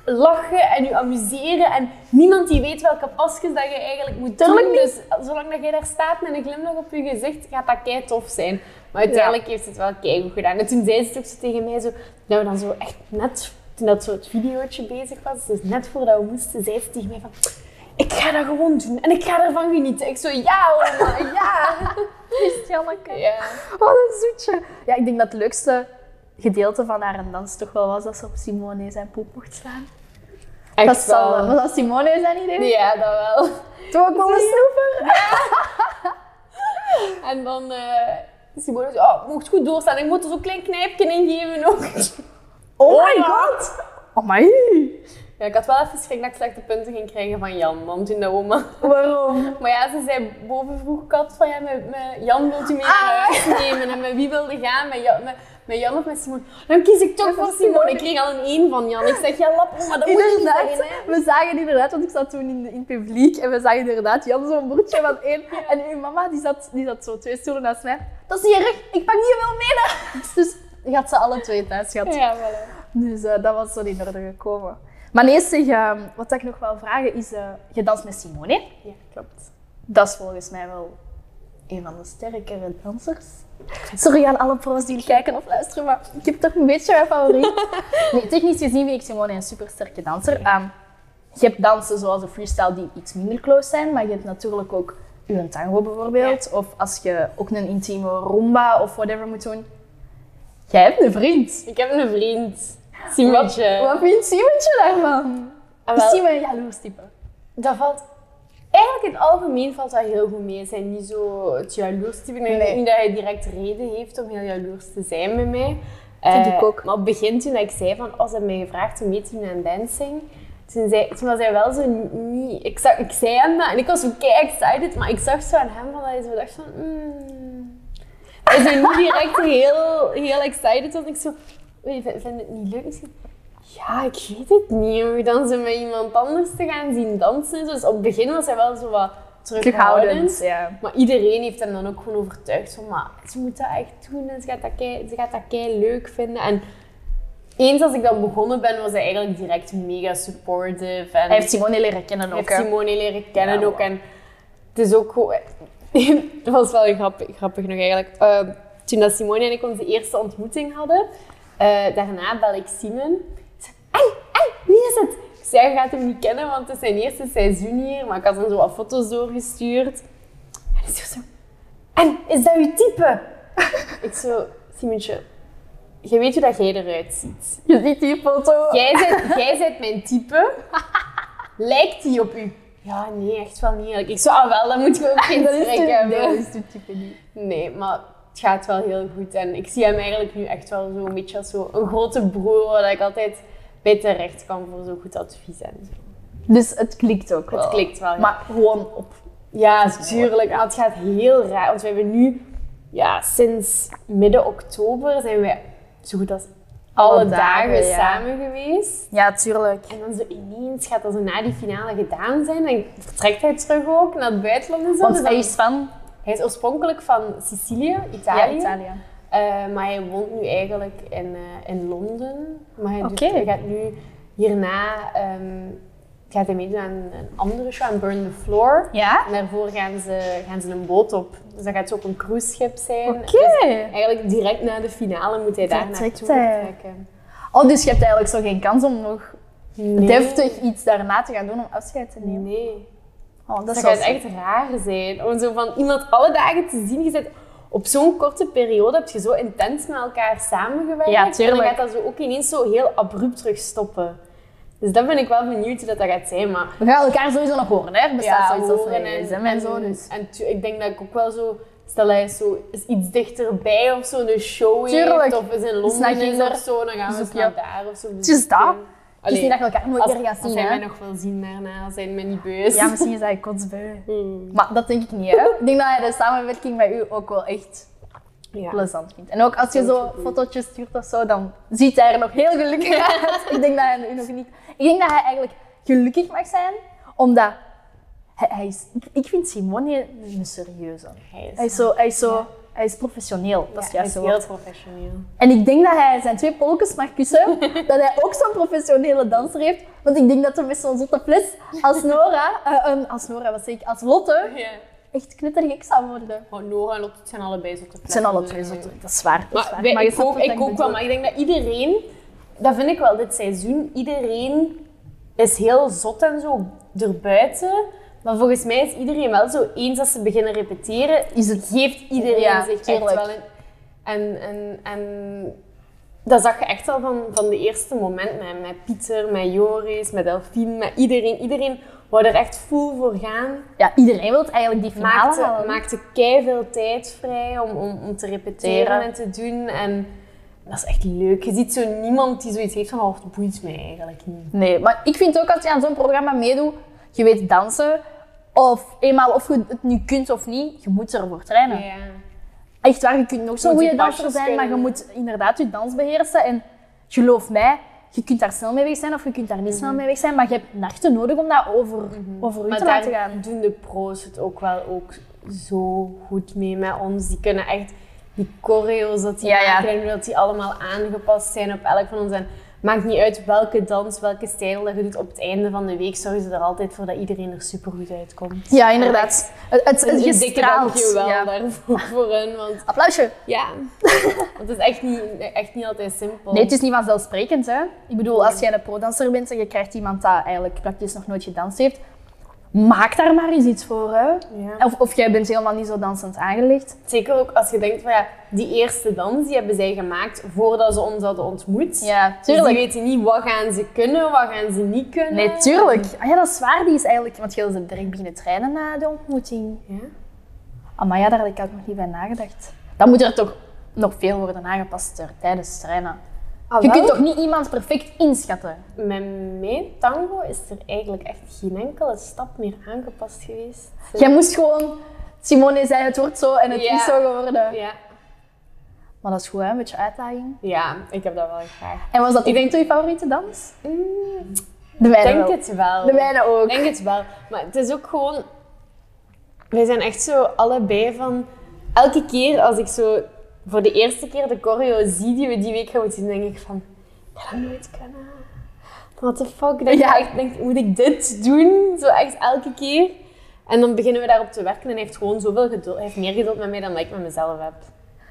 Speaker 2: lachen en je amuseren. En niemand die weet welke pasjes dat je eigenlijk moet doen.
Speaker 1: Tuurlijk
Speaker 2: Dus zolang dat jij daar staat met een glimlach op je gezicht, gaat dat kei tof zijn. Maar uiteindelijk heeft ze het wel kei goed gedaan. En toen zei ze het ook zo tegen mij zo, dat we dan zo echt net, toen dat zo het videootje bezig was, dus net voordat we moesten, zei ze tegen mij van, ik ga dat gewoon doen en ik ga ervan genieten. Ik zo, ja oma, ja. ja.
Speaker 1: Wat een Oh, zoetje. Ja, ik denk dat het leukste gedeelte van haar dans toch wel was dat ze op Simone zijn poep mocht slaan.
Speaker 2: Echt
Speaker 1: dat zal
Speaker 2: wel.
Speaker 1: wel. Was dat Simone zijn idee?
Speaker 2: Ja, dat wel.
Speaker 1: Toen ook wel een snoeper.
Speaker 2: En dan eh Simone zei, oh, je mocht goed doorstaan. Ik moet er zo'n klein knijpje in geven ook.
Speaker 1: Oh my god. Oh my.
Speaker 2: Ja, ik had wel even schrik dat ik slechte punten ging krijgen van Jan, dan toen de oma.
Speaker 1: Waarom?
Speaker 2: Maar ja, ze zei boven vroeg kat van, ja, met, met Jan wilt u mee
Speaker 1: Ah.
Speaker 2: naar huis nemen? En met wie wilde gaan? Met Jan, met, met Jan of met Simone? Dan kies ik toch voor Simone. Ik kreeg al een één van Jan. Ik zeg, ja, lap, maar dat moet je niet
Speaker 1: Inderdaad,
Speaker 2: zeggen, hè.
Speaker 1: we zagen inderdaad, want ik zat toen in, in het publiek en we zagen inderdaad Jan zo'n bordje van één. En uw mama die zat, die zat zo twee stoelen naast mij. Dat is niet erg, ik pak niet wel mee naar huis. Dus je had ze alle twee thuis gehad.
Speaker 2: Ja, voilà.
Speaker 1: Dus eh, dat was zo in orde gekomen. Maar nee, zeg, eh, wat ik nog wil vragen is, eh, je danst met Simone.
Speaker 2: Ja, klopt.
Speaker 1: Dat is volgens mij wel
Speaker 2: een van de sterkere dansers.
Speaker 1: Sorry aan alle pro's die kijken of luisteren, maar ik heb toch een beetje mijn favoriet. Nee, technisch gezien vind ik Simone een supersterke danser. Ehm, je hebt dansen zoals de freestyle die iets minder close zijn, maar je hebt natuurlijk ook een tango bijvoorbeeld. Of als je ook een intieme rumba of whatever moet doen. Jij hebt een vriend.
Speaker 2: Ik heb een vriend,
Speaker 1: Wat,
Speaker 2: Simontje.
Speaker 1: wat vindt Simontje daarvan?
Speaker 2: En
Speaker 1: Is
Speaker 2: Ah, wel-
Speaker 1: Simon een jaloers type?
Speaker 2: Dat valt... Eigenlijk in het algemeen valt dat heel goed mee. Zijn niet zo het jaloers type. Ik denk
Speaker 1: Nee.
Speaker 2: niet dat hij direct reden heeft om heel jaloers te zijn bij mij.
Speaker 1: Vind
Speaker 2: Eh,
Speaker 1: ik ook.
Speaker 2: Maar op het begin toen dat ik zei van, als hij mij gevraagd om mee te doen aan dancing, toen, zei, toen was hij wel zo n- niet... Ik, zag, ik zei hem dat en ik was zo kei excited, maar ik zag zo aan hem van dat hij zo dacht van... Mm. Hij is niet direct heel, heel excited, want ik zo... Oei, vind, vind het niet leuk misschien? Ja, ik weet het niet. Om je dan zo met iemand anders te gaan zien dansen. en zo. Dus op het begin was hij wel zo wat terughoudend.
Speaker 1: ja.
Speaker 2: Maar iedereen heeft hem dan ook gewoon overtuigd van, maar ze moet dat echt doen en ze gaat dat kei, ze gaat dat kei leuk vinden. En eens als ik dan begonnen ben, was hij eigenlijk direct mega supportive. En
Speaker 1: Hij heeft Simone leren kennen
Speaker 2: hij
Speaker 1: ook.
Speaker 2: heeft
Speaker 1: hè.
Speaker 2: Simone leren kennen
Speaker 1: Ja,
Speaker 2: ook. En het is ook gewoon... Het was wel grappig, grappig nog eigenlijk. Eh, toen dat Simone en ik onze eerste ontmoeting hadden, eh, daarna bel ik Simon. Ik zeg, hey, hey, wie is het? Ik zei, je gaat hem niet kennen, want het is zijn eerste seizoen hier. Maar ik had hem zo wat foto's doorgestuurd. En hij zo, zo, en is dat uw type? ik zo, Simontje, je weet hoe dat jij eruit ziet.
Speaker 1: Je ziet die foto.
Speaker 2: Jij bent, jij bent mijn type. Lijkt die op u? Ja, nee, echt wel niet. eigenlijk. Ik zou ah, wel, dan moet je ook geen
Speaker 1: dat is
Speaker 2: trek
Speaker 1: de,
Speaker 2: hebben.
Speaker 1: dat is de type niet.
Speaker 2: Nee, maar het gaat wel heel goed. En ik zie hem eigenlijk nu echt wel zo'n beetje als zo een grote broer, waar ik altijd bij terecht kan voor zo goed advies en zo.
Speaker 1: Dus het klikt ook wel.
Speaker 2: Het klikt wel. ja.
Speaker 1: Maar gewoon op.
Speaker 2: Ja, tuurlijk. Maar het gaat heel raar. Want we hebben nu, ja, sinds midden oktober zijn wij zo goed als alle,
Speaker 1: Alle dagen,
Speaker 2: dagen,
Speaker 1: ja.
Speaker 2: samen geweest.
Speaker 1: Ja, tuurlijk.
Speaker 2: En dan zo ineens gaat dat zo na die finale gedaan zijn. En vertrekt hij terug ook naar het buitenland en zo.
Speaker 1: Want
Speaker 2: Dus
Speaker 1: hij
Speaker 2: dan-
Speaker 1: is van
Speaker 2: hij is oorspronkelijk van Sicilië, Italië. Eh, maar hij woont nu eigenlijk in, eh, in Londen. Maar hij, doet-
Speaker 1: Oké.
Speaker 2: hij gaat nu hierna ehm, gaat hij meedoen aan een andere show, aan Burn the Floor.
Speaker 1: Ja?
Speaker 2: En daarvoor gaan ze, gaan ze een boot op. Dus dat gaat zo op een cruiseschip zijn.
Speaker 1: Oké.
Speaker 2: Dus eigenlijk direct na de finale moet hij daar
Speaker 1: Vertrekt
Speaker 2: naartoe
Speaker 1: hij.
Speaker 2: vertrekken.
Speaker 1: Oh, dus je hebt eigenlijk zo geen kans om nog
Speaker 2: Nee.
Speaker 1: deftig iets daarna te gaan doen om afscheid te nemen.
Speaker 2: Nee.
Speaker 1: Oh, dat
Speaker 2: Dat
Speaker 1: is
Speaker 2: zou
Speaker 1: wel-
Speaker 2: het echt raar zijn. Om zo van iemand alle dagen te zien. Je zit op zo'n korte periode heb je zo intens met elkaar samengewerkt.
Speaker 1: Ja,
Speaker 2: En
Speaker 1: tuurlijk.
Speaker 2: dan gaat dat zo ook ineens zo heel abrupt terug stoppen. Dus daar ben ik wel benieuwd hoe dat, dat gaat zijn. Maar
Speaker 1: We gaan elkaar sowieso nog horen, hè? Er bestaat zoiets als
Speaker 2: horen
Speaker 1: een gsm en zo. Dus.
Speaker 2: en tu- ik denk dat ik ook wel zo... Stel hij is zo is iets dichterbij of zo, een show
Speaker 1: Tuurlijk.
Speaker 2: heeft, of is in
Speaker 1: naar
Speaker 2: Londen is
Speaker 1: Ginder.
Speaker 2: of zo, dan gaan we
Speaker 1: Zoek
Speaker 2: eens
Speaker 1: je.
Speaker 2: naar daar of zo.
Speaker 1: Het is dat.
Speaker 2: bezoeken.
Speaker 1: Het is
Speaker 2: Allee,
Speaker 1: niet dat je elkaar nooit
Speaker 2: als,
Speaker 1: meer gaat
Speaker 2: als
Speaker 1: zien,
Speaker 2: hij
Speaker 1: hè?
Speaker 2: mij nog wel zien daarna, zijn mij niet beus.
Speaker 1: Ja, misschien is hij kotsbeu.
Speaker 2: Hmm.
Speaker 1: Maar dat denk ik niet, hè? Ik denk dat hij de samenwerking met u ook wel echt
Speaker 2: Ja.
Speaker 1: plezant vindt. En ook als je zo fotootjes stuurt of zo, dan ziet hij er nog heel gelukkig uit. ik denk dat hij nu nog niet... Ik denk dat hij eigenlijk gelukkig mag zijn, omdat... Hij, hij is, ik- ik vind Simone een serieuze.
Speaker 2: Hij is,
Speaker 1: Hij is zo... Hij is, zo, hij is professioneel, dat is
Speaker 2: Ja, hij
Speaker 1: juist
Speaker 2: is
Speaker 1: zo.
Speaker 2: heel professioneel.
Speaker 1: En ik denk dat hij zijn twee polkens mag kussen, dat hij ook zo'n professionele danser heeft. Want ik denk dat hij met zo'n zotte fles als Nora, eh, ehm, als Nora wat zeg ik, als Lotte,
Speaker 2: Ja.
Speaker 1: echt knettergek zou worden.
Speaker 2: Oh, Nora en Lotte het zijn allebei zotte dus-
Speaker 1: Het zijn alle twee zotte, dat is waar. Dat is
Speaker 2: Maar,
Speaker 1: waar.
Speaker 2: wij-
Speaker 1: Maar je
Speaker 2: ik
Speaker 1: snapt
Speaker 2: ook,
Speaker 1: wat
Speaker 2: ik ook wel,
Speaker 1: bedoel.
Speaker 2: maar ik denk dat iedereen, dat vind ik wel dit seizoen, iedereen is heel zot en zo erbuiten. Maar volgens mij is iedereen wel zo, eens als ze beginnen repeteren,
Speaker 1: Is het-
Speaker 2: geeft iedereen
Speaker 1: Ja,
Speaker 2: zich
Speaker 1: tuurlijk.
Speaker 2: echt wel in. En, en, en dat zag je echt al van, van de eerste moment met, met Pieter, met Joris, met Delphine, met iedereen. Iedereen wou er echt full voor gaan.
Speaker 1: Ja, iedereen wil eigenlijk die finale
Speaker 2: maakte,
Speaker 1: halen.
Speaker 2: maakte keiveel tijd vrij om, om, om te repeteren
Speaker 1: Teren.
Speaker 2: en te doen. En dat is echt leuk. Je ziet zo niemand die zoiets heeft van, oh, het boeit mij eigenlijk niet.
Speaker 1: Nee, maar ik vind ook als je aan zo'n programma meedoet, je weet dansen, of eenmaal of je het nu kunt of niet, je moet ervoor trainen. Echt waar, je kunt nog zo'n
Speaker 2: Moet je
Speaker 1: goede danser
Speaker 2: pasjes
Speaker 1: zijn, maar je
Speaker 2: kunnen.
Speaker 1: moet inderdaad je dans beheersen. En geloof mij, je kunt daar snel mee weg zijn of je kunt daar niet snel mee weg zijn, maar je hebt nachten nodig om dat over, over u
Speaker 2: Mhm. Maar
Speaker 1: te laten
Speaker 2: daar
Speaker 1: gaan.
Speaker 2: doen de pro's het ook wel ook zo goed mee met ons. Die kunnen echt die choreo's dat die
Speaker 1: Ja, ja.
Speaker 2: maken en hoe dat die allemaal aangepast zijn op elk van ons. En Maakt niet uit welke dans, welke stijl dat je doet. Op het einde van de week zorgen ze er altijd voor dat iedereen er supergoed uitkomt.
Speaker 1: Ja, inderdaad. Het, het,
Speaker 2: Een,
Speaker 1: het, je
Speaker 2: een dikke
Speaker 1: straalt.
Speaker 2: dankjewel
Speaker 1: Ja.
Speaker 2: daarvoor voor hen. Want
Speaker 1: Applausje.
Speaker 2: ja, want het is echt niet, echt niet altijd simpel.
Speaker 1: Nee, het is niet vanzelfsprekend. Hè? Ik bedoel, als jij een prodanser bent en je krijgt iemand dat eigenlijk praktisch nog nooit gedanst heeft, maak daar maar eens iets voor. Hè?
Speaker 2: Ja.
Speaker 1: Of, of jij bent helemaal niet zo dansend aangelegd.
Speaker 2: Zeker ook als je denkt van ja, die eerste dans die hebben zij gemaakt voordat ze ons hadden ontmoet.
Speaker 1: Ja,
Speaker 2: Dus
Speaker 1: tuurlijk.
Speaker 2: die weten niet wat gaan ze kunnen, wat gaan ze niet kunnen.
Speaker 1: Nee, tuurlijk. Ah ja, dat is waar. Die is eigenlijk, want jij ze direct beginnen trainen na de ontmoeting.
Speaker 2: Ja.
Speaker 1: Maar ja, daar had ik ook nog niet bij nagedacht. Dan moet er toch nog veel worden aangepast er, tijdens trainen. Je kunt toch niet iemand perfect inschatten?
Speaker 2: Met mijn tango is er eigenlijk echt geen enkele stap meer aangepast geweest.
Speaker 1: Jij moest gewoon... Simone zei het wordt zo en het
Speaker 2: Ja.
Speaker 1: is zo geworden.
Speaker 2: Ja.
Speaker 1: Maar dat is goed, hè? Een beetje uitdaging.
Speaker 2: ja, ik heb dat wel graag.
Speaker 1: En was dat
Speaker 2: Ik
Speaker 1: ik
Speaker 2: denk-
Speaker 1: denk je favoriete dans?
Speaker 2: Mm,
Speaker 1: De mijne
Speaker 2: denk
Speaker 1: wel.
Speaker 2: het wel.
Speaker 1: De mijne ook.
Speaker 2: Ik denk het wel. Maar het is ook gewoon... Wij zijn echt zo allebei van... Elke keer als ik zo voor de eerste keer de choreo zie die we die week gaan moeten zien, denk ik van... Ik ga dat nooit kunnen. What the fuck? Denk
Speaker 1: Ja.
Speaker 2: ik echt, denk, moet ik dit doen? Zo echt elke keer. En dan beginnen we daarop te werken en hij heeft gewoon zoveel geduld. Hij heeft meer geduld met mij dan dat ik met mezelf heb.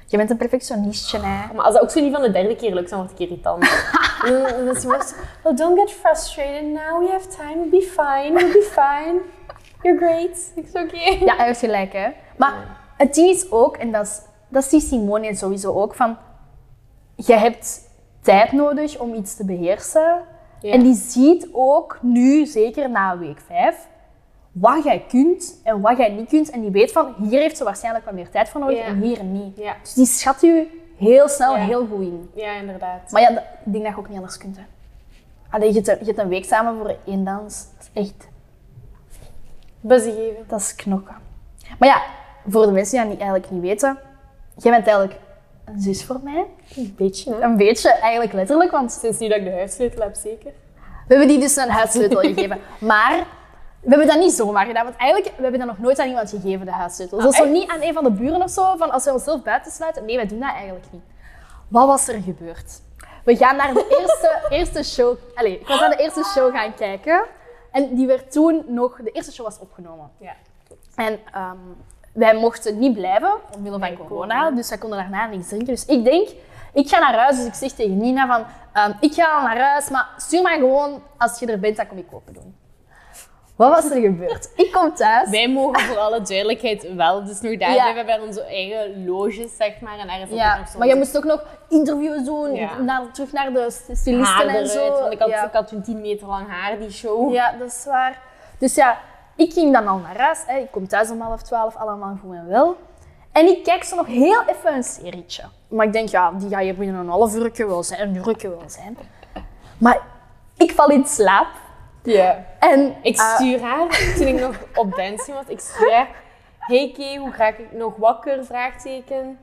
Speaker 1: Je bent een perfectionistje, hè?
Speaker 2: Maar als dat ook zo niet van de derde keer lukt, dan word ik irritant. En dan, dan is hij wel zo, well, don't get frustrated now, we have time, we'll be fine, we'll be fine. You're great. Ik zeg, oké.
Speaker 1: Ja, hij heeft gelijk, hè? Maar het ding is ook, en dat, is, dat ziet Simone sowieso ook, van... Je hebt tijd nodig om iets te beheersen.
Speaker 2: Ja.
Speaker 1: En die ziet ook nu, zeker na week 5, wat jij kunt en wat jij niet kunt. En die weet van, hier heeft ze waarschijnlijk wat meer tijd voor nodig
Speaker 2: Ja.
Speaker 1: en hier niet.
Speaker 2: Ja.
Speaker 1: Dus die schat je heel snel
Speaker 2: Ja.
Speaker 1: heel goed in.
Speaker 2: ja, inderdaad.
Speaker 1: Maar ja, dat- ik denk dat je ook niet anders kunt. Hè. Allee, je, hebt, een- je hebt een week samen voor één dans. Dat is echt,
Speaker 2: Buzzy geven.
Speaker 1: dat is knokken. Maar ja, voor de mensen die dat niet, eigenlijk niet weten, jij bent eigenlijk een zus voor mij.
Speaker 2: Een beetje, hè.
Speaker 1: Een beetje, eigenlijk letterlijk, want
Speaker 2: Sinds nu dat ik de huissleutel heb, zeker.
Speaker 1: we hebben die dus een huissleutel gegeven. Maar we hebben dat niet zomaar gedaan, want eigenlijk we hebben dat nog nooit aan iemand gegeven, de huissleutel. Dus dat is zo
Speaker 2: echt?
Speaker 1: niet aan een van de buren of zo, van als we onszelf buiten sluiten. Nee, wij doen dat eigenlijk niet. Wat was er gebeurd? We gaan naar de eerste, eerste show. Allee, ik was naar de eerste show gaan kijken. En die werd toen nog. De eerste show was opgenomen.
Speaker 2: Ja.
Speaker 1: En ehm, wij mochten niet blijven, omwille van
Speaker 2: Nee,
Speaker 1: corona.
Speaker 2: corona.
Speaker 1: Dus wij konden daarna niks drinken. Dus ik denk, ik ga naar huis. Dus ik zeg tegen Nina van, ehm, ik ga al naar huis, maar stuur mij gewoon, als je er bent, dan kom ik open doen. Wat was er gebeurd? Ik kom thuis.
Speaker 2: Wij mogen voor alle duidelijkheid wel, dus nog daar
Speaker 1: Ja.
Speaker 2: zijn we bij onze eigen loges, zeg maar. En daar is ook
Speaker 1: Ja,
Speaker 2: nog zo
Speaker 1: maar je moest ook nog interviews doen,
Speaker 2: Ja.
Speaker 1: naar, terug naar de st-
Speaker 2: haar
Speaker 1: stylisten en
Speaker 2: eruit,
Speaker 1: zo.
Speaker 2: want ik had,
Speaker 1: ja.
Speaker 2: ik had toen 10 meter lang haar, die show.
Speaker 1: Ja, dat is waar. Dus ja, ik ging dan al naar huis. Hè. Ik kom thuis om half twaalf, allemaal goed en wel. En ik kijk zo nog heel even een serietje. Maar ik denk, ja, die ga je binnen een half uurtje wel zijn, een uurtje wel zijn. Maar ik val in slaap. En
Speaker 2: Ik
Speaker 1: eh,
Speaker 2: stuur haar, toen ik nog op dancing was, ik stuur haar. Hey Kay, hoe ga ik nog wakker? Vraagteken.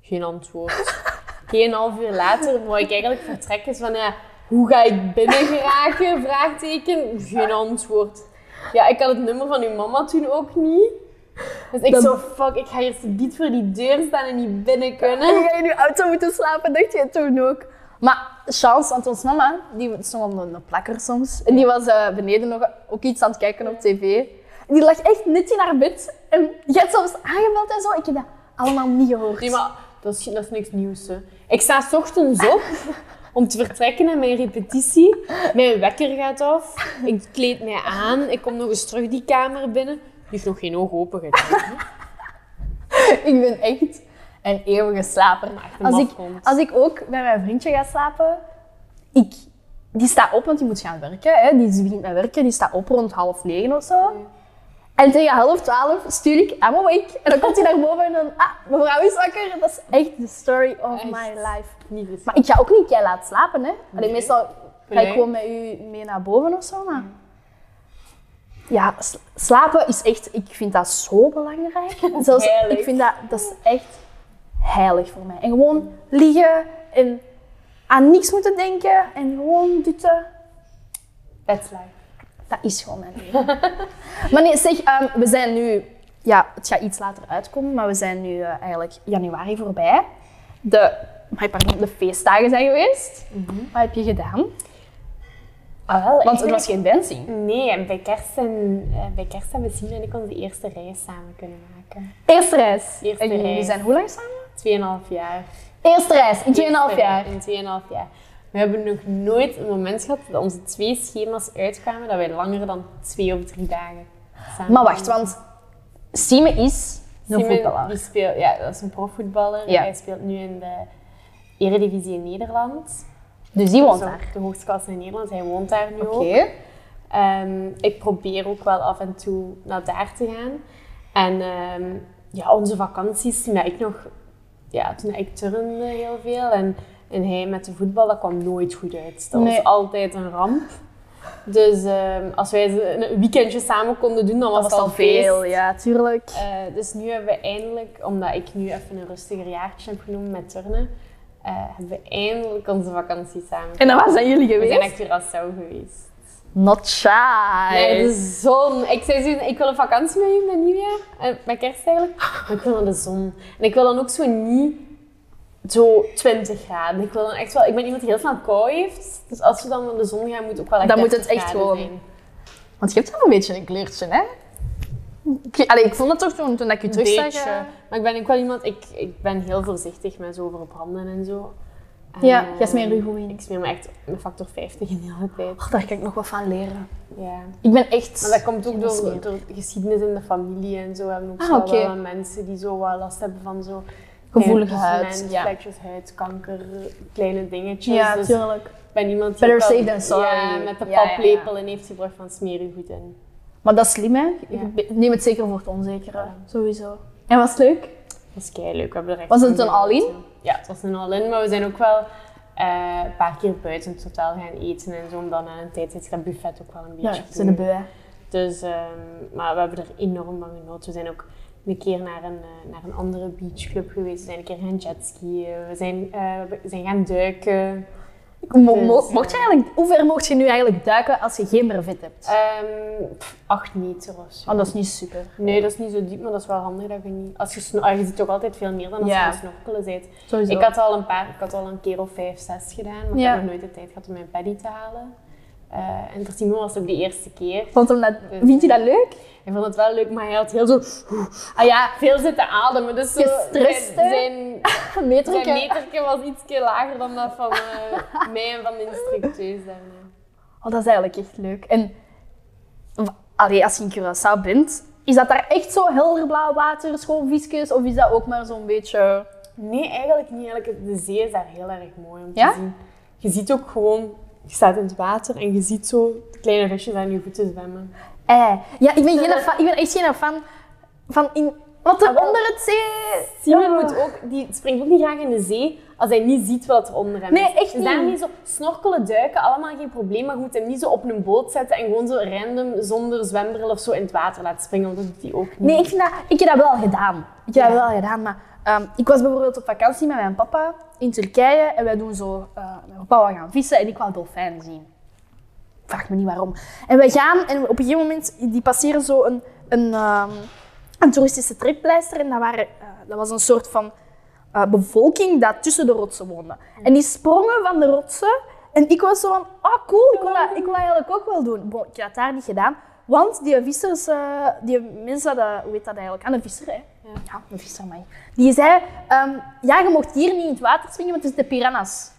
Speaker 2: Geen antwoord. Geen half uur later wou ik eigenlijk vertrekken. Zo Van, ja, hoe ga ik binnen geraken? Vraagteken. Geen antwoord. Ja, ik had het nummer van uw mama toen ook niet. Dus ik
Speaker 1: Dan-
Speaker 2: zo, fuck, ik ga hier niet voor die deur staan en niet binnen kunnen.
Speaker 1: En ga je nu auto moeten slapen, dacht je toen ook. Maar chance, want ons mama, die stond op een plakker soms. En die was eh, beneden nog ook iets aan het kijken op tv. En die lag echt net in haar bed. En jij had soms aangebeld en zo. Ik heb dat allemaal niet gehoord.
Speaker 2: Nee, maar dat is, dat is niks nieuws. Hè. Ik sta 's ochtends op om te vertrekken naar mijn repetitie. Mijn wekker gaat af. Ik kleed mij aan. Ik kom nog eens terug die kamer binnen. Die heeft nog geen oog open gedaan.
Speaker 1: Ik ben echt een eeuwige slaper.
Speaker 2: echt een
Speaker 1: Als ik,
Speaker 2: mafkont.
Speaker 1: als ik ook bij mijn vriendje ga slapen, ik, die staat op, want die moet gaan werken. Hè. Die begint met werken, die staat op rond half negen of zo. En tegen half twaalf stuur ik hem awake. En dan komt hij naar boven en dan, ah, mevrouw is wakker. Dat is echt de story of
Speaker 2: Echt.
Speaker 1: my life.
Speaker 2: Niet eens.
Speaker 1: Maar ik ga ook niet dus. jij laat slapen, hè. Allee,
Speaker 2: Nee.
Speaker 1: Meestal ga ik
Speaker 2: Nee.
Speaker 1: gewoon met u mee naar boven of zo, maar... Ja, s- slapen is echt... Ik vind dat zo belangrijk. Zelfs,
Speaker 2: Heilig.
Speaker 1: ik vind dat... Dat is echt heilig voor mij. En gewoon liggen en aan niks moeten denken en gewoon dutten.
Speaker 2: That's life.
Speaker 1: Dat is gewoon mijn leven. maar nee, zeg, ehm, we zijn nu... Ja, het gaat iets later uitkomen, maar we zijn nu eh, eigenlijk januari voorbij. de, maar pardon, de feestdagen zijn geweest. Wat heb je gedaan?
Speaker 2: Mhm. Ah, wel,
Speaker 1: Want het
Speaker 2: eigenlijk-
Speaker 1: was geen dancing.
Speaker 2: Nee, en bij kerst, en, eh, bij kerst hebben Sien en ik onze eerste reis samen kunnen maken.
Speaker 1: Eerste reis.
Speaker 2: Eerste
Speaker 1: en jullie
Speaker 2: reis.
Speaker 1: zijn hoe lang samen?
Speaker 2: Tweeënhalf jaar.
Speaker 1: Eerste reis, in 2,5
Speaker 2: Eerste
Speaker 1: jaar.
Speaker 2: reis In 2,5 jaar. We hebben nog nooit een moment gehad dat onze twee schema's uitkwamen dat wij langer dan twee of drie dagen samen
Speaker 1: Maar wacht, want Sime is een
Speaker 2: Simon,
Speaker 1: voetballer.
Speaker 2: Die speelt, ja, dat is een profvoetballer.
Speaker 1: Ja.
Speaker 2: Hij speelt nu in de Eredivisie in Nederland.
Speaker 1: Dus die woont
Speaker 2: Dus ook
Speaker 1: daar.
Speaker 2: De hoogste klasse in Nederland. Hij woont daar nu
Speaker 1: Oké.
Speaker 2: ook. Ehm, ik probeer ook wel af en toe naar daar te gaan. En ehm, ja, onze vakanties, toen dat ik nog... Ja, toen dat ik turnde heel veel en, en hij met de voetbal, dat kwam nooit goed uit. Dat
Speaker 1: Nee.
Speaker 2: was altijd een ramp. Dus ehm, als wij ze- een weekendje samen konden doen, dan was,
Speaker 1: Dat was
Speaker 2: het
Speaker 1: al veel, ja, tuurlijk.
Speaker 2: eh, dus nu hebben we eindelijk, omdat ik nu even een rustiger jaartje heb genomen met turnen, eh, hebben we eindelijk onze vakantie samen.
Speaker 1: En dan waar zijn jullie
Speaker 2: We
Speaker 1: geweest?
Speaker 2: zijn naar Curaçao geweest.
Speaker 1: Not shy.
Speaker 2: Nee, de zon. Ik zei zo, ik wil een vakantie met je met nieuwjaar. En met kerst eigenlijk. Maar ik wil naar de zon. En ik wil dan ook zo niet zo 20 graden. Ik wil dan echt wel... Ik ben iemand die heel snel kou heeft. Dus als we dan naar de zon gaan, moet het ook wel echt
Speaker 1: Dan moet
Speaker 2: 30
Speaker 1: het echt
Speaker 2: graden
Speaker 1: gewoon-
Speaker 2: zijn.
Speaker 1: Want je hebt wel een beetje een kleurtje, hè? Ik- Allee, ik vond het toch toen, toen ik je
Speaker 2: Een
Speaker 1: terug zag.
Speaker 2: beetje.
Speaker 1: eh,
Speaker 2: Maar ik ben ook wel iemand... Ik, ik ben heel voorzichtig met zo verbranden en zo. En,
Speaker 1: Ja,
Speaker 2: eh,
Speaker 1: jij smeert je goed in.
Speaker 2: Ik smeer me echt met factor 50 in de hele tijd.
Speaker 1: oh, daar kan ik nog wat van leren.
Speaker 2: Ja.
Speaker 1: Ik ben echt...
Speaker 2: Maar dat komt ook
Speaker 1: Geen
Speaker 2: door,
Speaker 1: smeer.
Speaker 2: door geschiedenis in de familie en zo. We hebben ook
Speaker 1: Ah,
Speaker 2: zo
Speaker 1: oké.
Speaker 2: wel wat mensen die zo wat last hebben van zo...
Speaker 1: Gevoelige
Speaker 2: kleine
Speaker 1: huid,
Speaker 2: pigment,
Speaker 1: ja.
Speaker 2: Vlekjes huid, kanker, kleine dingetjes.
Speaker 1: Ja,
Speaker 2: dus
Speaker 1: tuurlijk.
Speaker 2: ik ben iemand die
Speaker 1: Better
Speaker 2: ook wel-
Speaker 1: safe than sorry.
Speaker 2: Ja, met de
Speaker 1: Ja, ja, ja.
Speaker 2: paplepel in heeft gebracht van smeer je goed in.
Speaker 1: Maar dat is slim, hè?
Speaker 2: Ja.
Speaker 1: Ik be- Neem het zeker voor het onzekere. Sowieso. En was het leuk?
Speaker 2: Dat is kei leuk. We hebben er echt
Speaker 1: Was
Speaker 2: van
Speaker 1: het een
Speaker 2: genoten.
Speaker 1: all-in?
Speaker 2: Ja, het was een all-in, maar we zijn ook wel eh, een paar keer buiten het hotel gaan eten en zo. Om dan aan een tijd zit dat buffet ook wel een beetje
Speaker 1: ze zijn de
Speaker 2: te
Speaker 1: beu,
Speaker 2: doen.
Speaker 1: hè?
Speaker 2: Dus, ehm, maar we hebben er enorm van genoten. We zijn ook een keer naar een, eh, naar een andere beachclub geweest. We zijn een keer gaan jetskiën. We zijn, eh, we zijn gaan duiken.
Speaker 1: Mo- mo-
Speaker 2: Dus,
Speaker 1: mocht je eigenlijk, hoe ver mocht je nu eigenlijk duiken als je geen brevet hebt?
Speaker 2: Ehm pff, acht meter of zo.
Speaker 1: oh, dat is niet super.
Speaker 2: Nee, dat is niet zo diep, maar dat is wel handig dat je niet... Als je, sno- ah, je ziet toch altijd veel meer dan als
Speaker 1: Ja.
Speaker 2: je aan het snorkelen bent.
Speaker 1: Sowieso.
Speaker 2: Ik had al een paar, ik had al een keer of vijf, zes gedaan, maar
Speaker 1: Ja.
Speaker 2: ik heb nog nooit de tijd gehad om mijn paddy te halen. Eh, en voor Simon was het ook de eerste keer.
Speaker 1: Vond hem dat, vind je dat leuk?
Speaker 2: Hij vond het wel leuk, maar hij had heel zo
Speaker 1: Ah ja,
Speaker 2: veel zitten ademen. Dus zo,
Speaker 1: Gestrest, hè?
Speaker 2: zijn, zijn, zijn
Speaker 1: meterke.
Speaker 2: meterke was iets lager dan dat van eh, mij en van de instructeurs daarna.
Speaker 1: Oh, dat is eigenlijk echt leuk. En w- allee, als je in Curaçao bent, is dat daar echt zo helder blauw water, schoon visjes? Of is dat ook maar zo'n beetje...
Speaker 2: Nee, eigenlijk niet. Eigenlijk, de zee is daar heel erg mooi om te
Speaker 1: Ja?
Speaker 2: zien. Je ziet ook gewoon, je staat in het water en je ziet zo de kleine visjes aan je voeten zwemmen.
Speaker 1: Eh, ja, ik ben, geen fan, ik ben echt geen fan van in... Wat er
Speaker 2: Ah, wel.
Speaker 1: onder het zee...
Speaker 2: Simon
Speaker 1: Ja.
Speaker 2: moet ook, die springt ook niet graag in de zee als hij niet ziet wat er onder hem
Speaker 1: Nee,
Speaker 2: is.
Speaker 1: echt
Speaker 2: dus daarom
Speaker 1: niet.
Speaker 2: niet zo snorkelen, duiken, allemaal geen probleem. Maar je moet hem niet zo op een boot zetten en gewoon zo random zonder zwembril of zo in het water laten springen. Want dat doet hij ook niet.
Speaker 1: Nee, ik, vind dat, ik heb dat wel gedaan. Ik heb dat wel gedaan, maar ehm, ik was bijvoorbeeld op vakantie met mijn papa in Turkije en wij doen zo, eh, mijn papa wil gaan vissen en ik wil dolfijnen zien. Vraag me niet waarom. En wij gaan en op een gegeven moment die passeren zo een, een, ehm, een toeristische trekpleister en dat, waren, eh, dat was een soort van eh, bevolking dat tussen de rotsen woonde. En die sprongen van de rotsen. En ik was zo van, ah cool, ik wil dat, ik wil dat eigenlijk ook wel doen. Bon, ik had dat daar niet gedaan. Want die vissers, eh, die mensen, dat, hoe heet dat eigenlijk? Aan een visser, hè? Ja, een visser, mij. Die zei, ehm, ja, je mocht hier niet in het water springen, want het is de piranha's.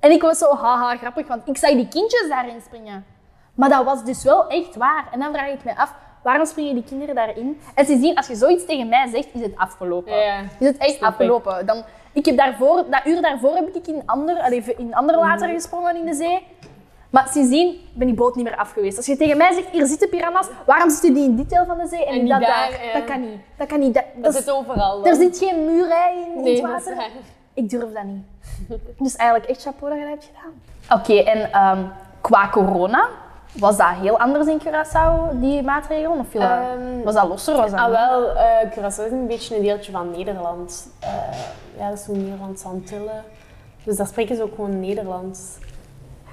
Speaker 1: En ik was zo, haha, grappig, want ik zag die kindjes daarin springen. Maar dat was dus wel echt waar. En dan vraag ik me af, waarom springen die kinderen daarin? En ze zien, als je zoiets tegen mij zegt, is het afgelopen.
Speaker 2: Ja.
Speaker 1: Is het echt
Speaker 2: Snap ik.
Speaker 1: afgelopen. Dan, ik heb daarvoor, dat uur daarvoor heb ik in ander, allee, in ander water gesprongen in de zee. Maar sindsdien ben die boot niet meer af geweest. Als je tegen mij zegt, hier zitten piranha's, waarom zitten die in dit deel van de zee en,
Speaker 2: En
Speaker 1: niet
Speaker 2: niet
Speaker 1: dat daar?
Speaker 2: daar, ja.
Speaker 1: Dat kan niet. Dat kan niet. Dat, dat
Speaker 2: Dat
Speaker 1: is-
Speaker 2: zit overal.
Speaker 1: er zit geen muur hè, in, in
Speaker 2: Nee,
Speaker 1: het
Speaker 2: dat is
Speaker 1: water. Ehm,
Speaker 2: waar.
Speaker 1: Ik durf dat niet. Dus eigenlijk echt chapeau dat je dat hebt gedaan. Oké, en ehm, qua corona, was dat heel anders in Curaçao, die maatregelen? Of viel dat-
Speaker 2: Ehm,
Speaker 1: was dat losser? Was dat
Speaker 2: Ah
Speaker 1: niet?
Speaker 2: wel, eh Curaçao is een beetje een deeltje van Nederland. Eh, ja, dat is zo'n Nederlandse Antillen. Dus daar spreken ze ook gewoon Nederlands.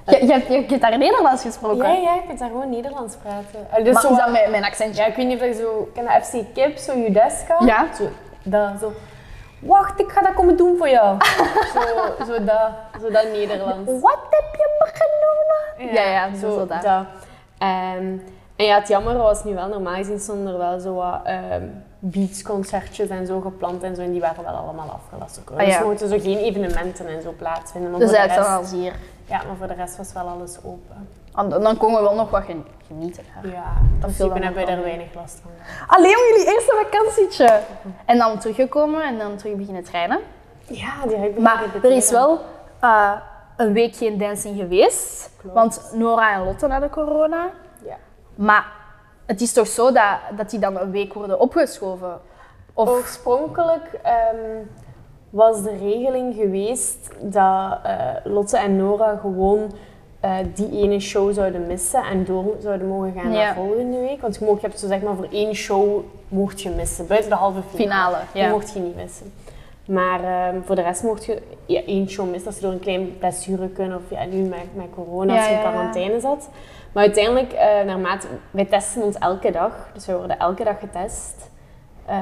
Speaker 1: Je, je, hebt- je hebt daar Nederlands gesproken.
Speaker 2: Ja, ja, je kunt daar gewoon Nederlands praten. Eh, dus
Speaker 1: maar
Speaker 2: zo,
Speaker 1: is dat mijn, mijn accentje?
Speaker 2: Ja, ik weet niet of je zo... Ken je FC Kip, zo Judeska?
Speaker 1: Ja.
Speaker 2: Zo, dat, zo. Wacht, ik ga dat komen doen voor jou. zo, zo, dat, zo dat Nederlands.
Speaker 1: Wat heb je me genomen? Ja, ja, zo
Speaker 2: zo
Speaker 1: dat.
Speaker 2: dat. Ehm, en ja, het jammer was nu wel, normaal gezien stonden er wel zo wat ehm, beatsconcertjes en zo gepland en zo, en die waren wel allemaal afgelast. Ook, hoor.
Speaker 1: Ah,
Speaker 2: Dus
Speaker 1: ja.
Speaker 2: er moeten zo geen evenementen en zo plaatsvinden. Maar
Speaker 1: Dus
Speaker 2: voor de
Speaker 1: eigenlijk
Speaker 2: rest,
Speaker 1: dan al zeer.
Speaker 2: ja, maar voor de rest was wel alles open.
Speaker 1: En dan kon je wel nog wat gen- genieten. hè.
Speaker 2: Ja, in
Speaker 1: Ah. viel
Speaker 2: principe
Speaker 1: dan
Speaker 2: hebben we
Speaker 1: nog
Speaker 2: daar
Speaker 1: wel
Speaker 2: weinig last van.
Speaker 1: Alleen om jullie eerste vakantietje. En dan teruggekomen en dan terug beginnen trainen.
Speaker 2: Ja, direct
Speaker 1: Maar er is wel eh, een week geen dancing geweest.
Speaker 2: Klopt.
Speaker 1: Want Nora en Lotte hadden corona.
Speaker 2: Ja.
Speaker 1: Maar het is toch zo dat, dat die dan een week worden opgeschoven? Of
Speaker 2: Oorspronkelijk ehm, was de regeling geweest dat eh, Lotte en Nora gewoon eh, die ene show zouden missen en door zouden mogen gaan
Speaker 1: Ja.
Speaker 2: naar volgende week. Want je, mocht, je hebt zo zeg maar voor één show mocht je missen, buiten de halve finale.
Speaker 1: finale?
Speaker 2: Die mocht je niet missen. Maar ehm, voor de rest mocht je ja, één show missen als je door een klein blessure kunnen of ja, nu met, met corona
Speaker 1: Ja,
Speaker 2: als je in
Speaker 1: ja, ja.
Speaker 2: quarantaine zat. Maar uiteindelijk, eh, naarmate, wij testen ons elke dag, dus wij worden elke dag getest. Eh,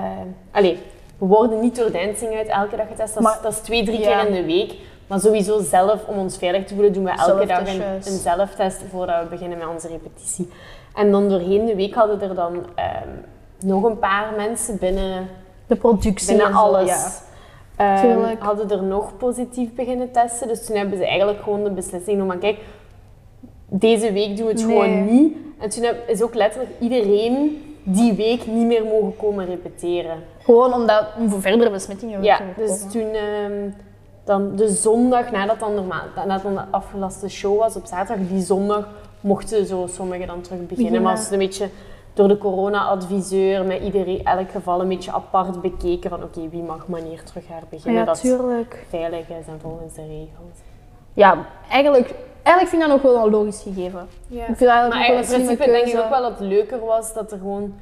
Speaker 2: allee, we worden niet door dancing uit elke dag getest, dat,
Speaker 1: Maar-
Speaker 2: is, dat is twee, drie
Speaker 1: ja.
Speaker 2: keer in de week. Maar sowieso zelf, om ons veilig te voelen, doen we elke dag een, een
Speaker 1: Zelftestjes.
Speaker 2: zelftest voordat we beginnen met onze repetitie. En dan doorheen de week hadden er dan ehm, nog een paar mensen binnen
Speaker 1: De productie
Speaker 2: bijna
Speaker 1: en zo,
Speaker 2: alles.
Speaker 1: ja.
Speaker 2: Ehm,
Speaker 1: Tuurlijk.
Speaker 2: hadden er nog positief beginnen testen. Dus toen hebben ze eigenlijk gewoon de beslissing genomen. Kijk, deze week doen we het
Speaker 1: Nee.
Speaker 2: gewoon niet. En toen heb- is ook letterlijk iedereen die week niet meer mogen komen repeteren.
Speaker 1: Gewoon omdat, om voor verdere besmettingen
Speaker 2: Ja,
Speaker 1: te
Speaker 2: dus
Speaker 1: voorkomen.
Speaker 2: toen ehm, dan de zondag, nadat dan, normaal, nadat dan de afgelaste show was op zaterdag, die zondag mochten zo sommigen dan terug beginnen.
Speaker 1: Ja.
Speaker 2: Maar was het een beetje door de corona-adviseur met iedereen elk geval een beetje apart bekeken van oké, wie mag wanneer terug haar beginnen.
Speaker 1: Ja,
Speaker 2: dat het
Speaker 1: tuurlijk.
Speaker 2: veilig is en volgens de regels.
Speaker 1: Ja, eigenlijk, eigenlijk vind ik dat ook wel een logisch gegeven. Ik vind dat
Speaker 2: Maar
Speaker 1: eigenlijk ook wel eh, een
Speaker 2: eigenlijk in
Speaker 1: slimme
Speaker 2: principe
Speaker 1: keuze.
Speaker 2: denk ik ook wel dat het leuker was dat er gewoon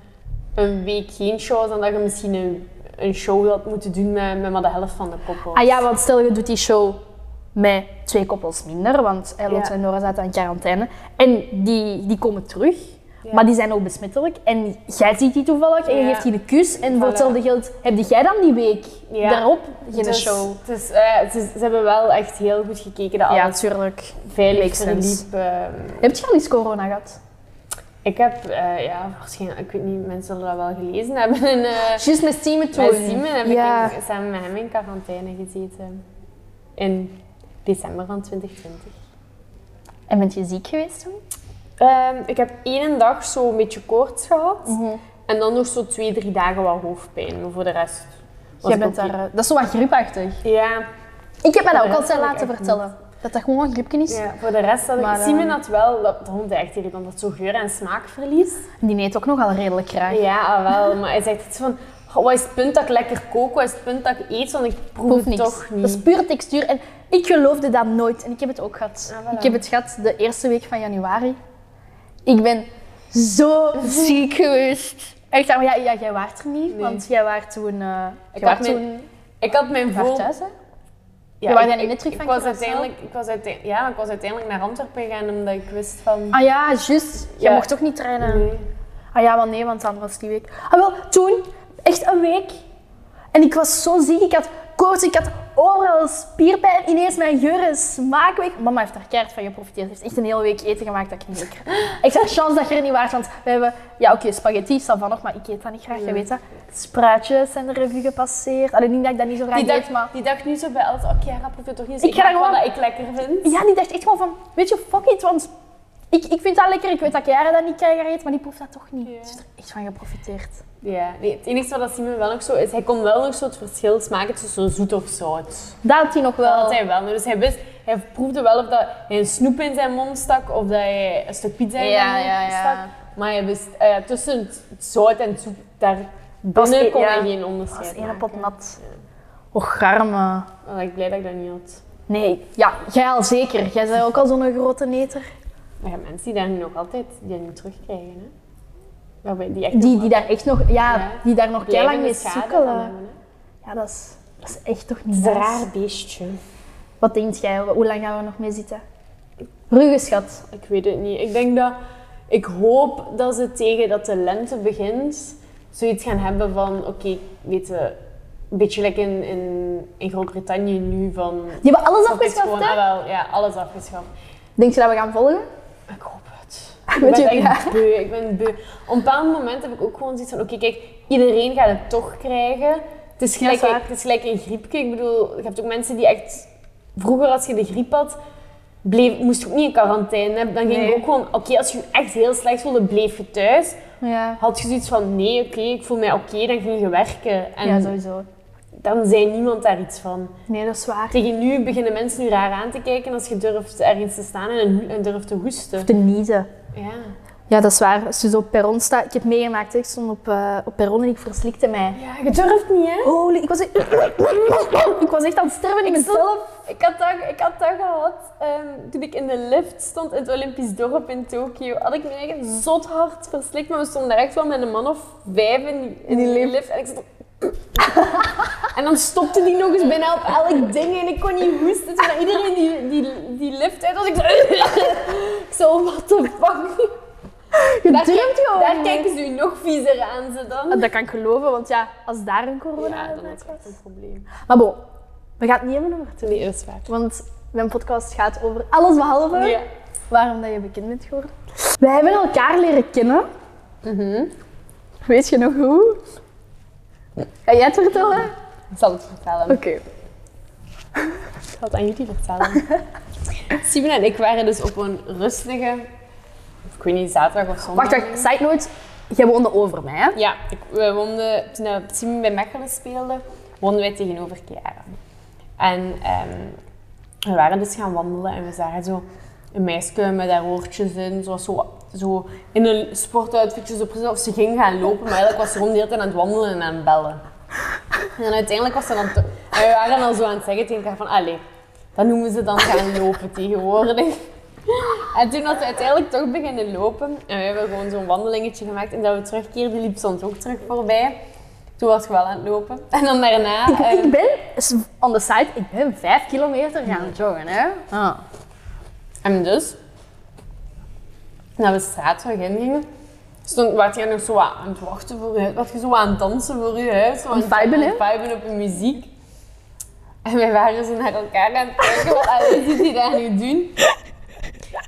Speaker 2: een week geen show was dan dat je misschien een, een show had moeten doen met, met maar de helft van de koppel.
Speaker 1: Ah ja, want stel je doet die show met twee koppels minder, want eh, Lotte
Speaker 2: Ja.
Speaker 1: en Nora zaten in quarantaine. En die, die komen terug, maar die zijn ook besmettelijk. En jij ziet die toevallig en je
Speaker 2: Ja.
Speaker 1: geeft die de kus. En voor
Speaker 2: Voilà.
Speaker 1: hetzelfde geld heb jij dan die week
Speaker 2: Ja.
Speaker 1: daarop geen
Speaker 2: Dus-
Speaker 1: show.
Speaker 2: Dus, eh, het is- ze hebben wel echt heel goed gekeken dat alles
Speaker 1: natuurlijk.
Speaker 2: veilig
Speaker 1: makes sense.
Speaker 2: verliep. ehm.
Speaker 1: Heb je al eens corona gehad?
Speaker 2: ik heb, eh, ja, waarschijnlijk, ik weet niet, mensen zullen dat wel gelezen hebben. En, eh
Speaker 1: Juist met Steam toen.
Speaker 2: met Simon heb
Speaker 1: ja.
Speaker 2: ik in- samen met hem in quarantaine gezeten. In december van 2020.
Speaker 1: En bent je ziek geweest toen?
Speaker 2: Ehm, ik heb één dag zo'n beetje koorts gehad. En dan nog zo twee, drie dagen wel hoofdpijn. Maar voor de rest was
Speaker 1: Jij
Speaker 2: ik
Speaker 1: bent
Speaker 2: oké.
Speaker 1: daar, eh, dat is zo wat griepachtig.
Speaker 2: Ja,
Speaker 1: Ik heb me dat
Speaker 2: Ja,
Speaker 1: ook
Speaker 2: dat
Speaker 1: altijd
Speaker 2: vond ik
Speaker 1: laten
Speaker 2: echt
Speaker 1: vertellen. Dat dat gewoon een griepje is.
Speaker 2: ja, voor de rest had ik...
Speaker 1: Maar,
Speaker 2: Simon
Speaker 1: ehm,
Speaker 2: had wel, dat, dat vond hij echt irritant, dat zo geur- en smaakverlies.
Speaker 1: Die neemt ook nogal redelijk graag.
Speaker 2: Ja, ah, wel. Maar hij zegt iets van, "Goh, wat is het punt dat ik lekker kook? Wat is het punt dat ik eet? Want ik proef,
Speaker 1: proef
Speaker 2: het
Speaker 1: niks.
Speaker 2: toch niet.
Speaker 1: Dat is puur textuur. En ik geloofde dat nooit. En ik heb het ook gehad.
Speaker 2: Ah, voilà.
Speaker 1: Ik heb het gehad de eerste week van januari. Ik ben zo ziek geweest. Echt, maar ja, ja, jij waart er niet,
Speaker 2: Nee.
Speaker 1: want jij waart toen... eh
Speaker 2: Ik
Speaker 1: jij waart
Speaker 2: had mijn-
Speaker 1: toen...
Speaker 2: Ik had mijn
Speaker 1: Je waart
Speaker 2: vol...
Speaker 1: thuis, hè?
Speaker 2: Ja,
Speaker 1: Je wou
Speaker 2: ik-
Speaker 1: daar niet
Speaker 2: ik-
Speaker 1: net terug
Speaker 2: ik
Speaker 1: van
Speaker 2: was
Speaker 1: Curaçao?
Speaker 2: uiteindelijk, ik was uiteindelijk, Ja, maar ik was uiteindelijk naar Antwerpen gegaan omdat ik wist van...
Speaker 1: Ah ja, juist. Jij
Speaker 2: Ja.
Speaker 1: mocht toch niet trainen?
Speaker 2: nee.
Speaker 1: Ah ja, wel nee, want dan was die week... Ah wel, toen, echt een week. En ik was zo ziek. Ik had koorts, ik had overal spierpijn. Ineens mijn geur en smaak weg. Mama heeft daar keihard van geprofiteerd. Ze heeft echt een hele week eten gemaakt dat ik niet lekker... Ik zeg, chance dat je er niet waart, want we hebben... Ja, oké, spaghetti, salvan nog, maar ik eet dat niet graag, je weet dat. Spruitjes zijn de revue gepasseerd. Alleen niet dat ik dat niet zo graag
Speaker 2: Die
Speaker 1: eet,
Speaker 2: dacht,
Speaker 1: maar...
Speaker 2: die dacht nu zo bij Els, oké, hij gaat het toch niet
Speaker 1: Ik ga
Speaker 2: maak
Speaker 1: gewoon-
Speaker 2: wat ik lekker vind.
Speaker 1: Ja, die dacht echt gewoon van, weet je, fuck it, want... Ik, ik vind dat lekker, ik weet dat Chiara dat niet graag eet, maar die proeft dat toch niet.
Speaker 2: Ja.
Speaker 1: Ze heeft er echt van geprofiteerd.
Speaker 2: Ja, nee, het enige wat Simon wel nog zo is, hij kon wel nog zo het verschil smaken tussen zoet of zout.
Speaker 1: Dat had hij nog wel.
Speaker 2: Dat had hij wel. Dus hij wist, hij proefde wel of dat hij een snoep in zijn mond stak of dat hij een stuk pizza in
Speaker 1: Ja,
Speaker 2: zijn mond
Speaker 1: ja, ja.
Speaker 2: stak. Maar hij wist, eh, tussen het zout en het zoet, daar binnen
Speaker 1: één-
Speaker 2: kon hij
Speaker 1: e- ja.
Speaker 2: geen
Speaker 1: Dat is
Speaker 2: onderscheid
Speaker 1: één
Speaker 2: maken.
Speaker 1: pot nat. Och, arme.
Speaker 2: Maar ik ben blij dat ik dat niet had.
Speaker 1: Nee, ja, jij al zeker. Jij bent ook al zo'n grote neter.
Speaker 2: Maar ja, mensen die daar nu nog altijd, die dat niet terugkrijgen, hè. Waarbij die echt
Speaker 1: Die, die daar echt nog, ja,
Speaker 2: Ja.
Speaker 1: die daar nog
Speaker 2: blijvende
Speaker 1: keilang mee
Speaker 2: schade van
Speaker 1: sukkelen.
Speaker 2: hebben, hè.
Speaker 1: Ja, dat is, dat is echt toch niet
Speaker 2: Het is een
Speaker 1: nice.
Speaker 2: raar beestje.
Speaker 1: Wat denkt jij? Hoe lang gaan we er nog mee zitten? Ruggenschat.
Speaker 2: Ik weet het niet. Ik denk dat... Ik hoop dat ze tegen dat de lente begint, zoiets gaan hebben van... Oké, weet je, Een beetje like in, in, in Groot-Brittannië nu van...
Speaker 1: Die hebben alles
Speaker 2: Het is
Speaker 1: afgeschaft,
Speaker 2: gewoon, ah,
Speaker 1: hè?
Speaker 2: wel, ja, alles afgeschaft.
Speaker 1: Denk je dat we gaan volgen?
Speaker 2: Ik hoop het.
Speaker 1: Met
Speaker 2: Ik ben
Speaker 1: je-
Speaker 2: echt beu. Ik ben beu. Op een bepaald moment heb ik ook gewoon zoiets van, oké, kijk, iedereen gaat het toch krijgen. Het is
Speaker 1: Ja,
Speaker 2: gelijk,
Speaker 1: dat is waar.
Speaker 2: het is gelijk een griepje. Ik bedoel, je hebt ook mensen die echt... Vroeger, als je de griep had, bleef, moest je ook niet in quarantaine. hè. Dan ging
Speaker 1: Nee.
Speaker 2: je ook gewoon... Oké, als je je echt heel slecht voelde, bleef je thuis.
Speaker 1: Ja.
Speaker 2: Had je zoiets van, nee, oké, ik voel mij oké, dan ging je werken. En
Speaker 1: Ja, sowieso.
Speaker 2: dan zei niemand daar iets van.
Speaker 1: Nee, dat is waar.
Speaker 2: Tegen nu beginnen mensen nu raar aan te kijken als je durft ergens te staan en, een ho- en durft te hoesten.
Speaker 1: Te niezen.
Speaker 2: Ja.
Speaker 1: Ja, dat is waar. Als je zo op perron staat. Ik heb meegemaakt, hè. ik stond op, eh, op perron en ik verslikte mij.
Speaker 2: Ja, je durft niet, hè?
Speaker 1: Holy, ik was echt, ik was echt aan het sterven in
Speaker 2: Ik stond-
Speaker 1: mezelf.
Speaker 2: Ik had dat, ik had dat gehad ehm, toen ik in de lift stond in het Olympisch dorp in Tokio. Had ik me echt zot hard verslikt, maar we stonden daar echt wel met een man of vijf in die, in die lift. En ik zat En dan stopte die nog eens bijna op elk ding en ik kon niet hoesten. Toen iedereen die, die, die lift uit was, ik zo... ik zo, what the fuck?
Speaker 1: Je
Speaker 2: Daar,
Speaker 1: durft gewoon
Speaker 2: daar
Speaker 1: niet.
Speaker 2: kijken ze u nog viezer aan, ze
Speaker 1: Ah,
Speaker 2: dan.
Speaker 1: Dat kan ik geloven, want ja, als daar een corona
Speaker 2: echt een probleem.
Speaker 1: Maar bon, we gaan het niet hebben over toen.
Speaker 2: Nee, dat is waar.
Speaker 1: Want mijn podcast gaat over alles behalve
Speaker 2: Ja.
Speaker 1: waarom dat je bekend bent geworden. Wij hebben elkaar leren kennen.
Speaker 2: Mhm.
Speaker 1: Weet je nog hoe? Ga jij het vertellen? Oké.
Speaker 2: Ik zal het vertellen. Ik zal het aan jullie vertellen. Simon en ik waren dus op een rustige, ik weet niet, zaterdag of zondag.
Speaker 1: Wacht, wacht. Side note. Jij woonde over mij, hè?
Speaker 2: Ja, ik, we woonden, toen dat Simon bij Mechelen speelde, woonden wij tegenover Chiara. En ehm, we waren dus gaan wandelen en we zagen zo een meisje met haar oortjes in, zoals zo, zo in een sportuitfitje, zo precies of ze ging gaan lopen, maar eigenlijk was ze gewoon de hele tijd aan het wandelen en aan het bellen. En uiteindelijk was ze dan... te- En we waren al zo aan het zeggen tegen elkaar van, allee, dat noemen ze dan gaan lopen tegenwoordig. En toen was ze uiteindelijk toch beginnen lopen en we hebben gewoon zo'n wandelingetje gemaakt en dat we terugkeerden, liep ze ons ook terug voorbij. Toen was ik wel aan het lopen. En dan daarna...
Speaker 1: Ik,
Speaker 2: ehm,
Speaker 1: ik ben, on the side, ik ben vijf kilometer gaan joggen, hè? Ah.
Speaker 2: En dus, dat we straat terug ingingen, stond, was jij nog zo wat aan het wachten voor je huis, was je zo aan het dansen voor je huis, zo aan het
Speaker 1: viben, hè?
Speaker 2: aan het viben op je muziek. En wij waren zo naar elkaar aan het kijken, wat allee, zit hij daar nu doen?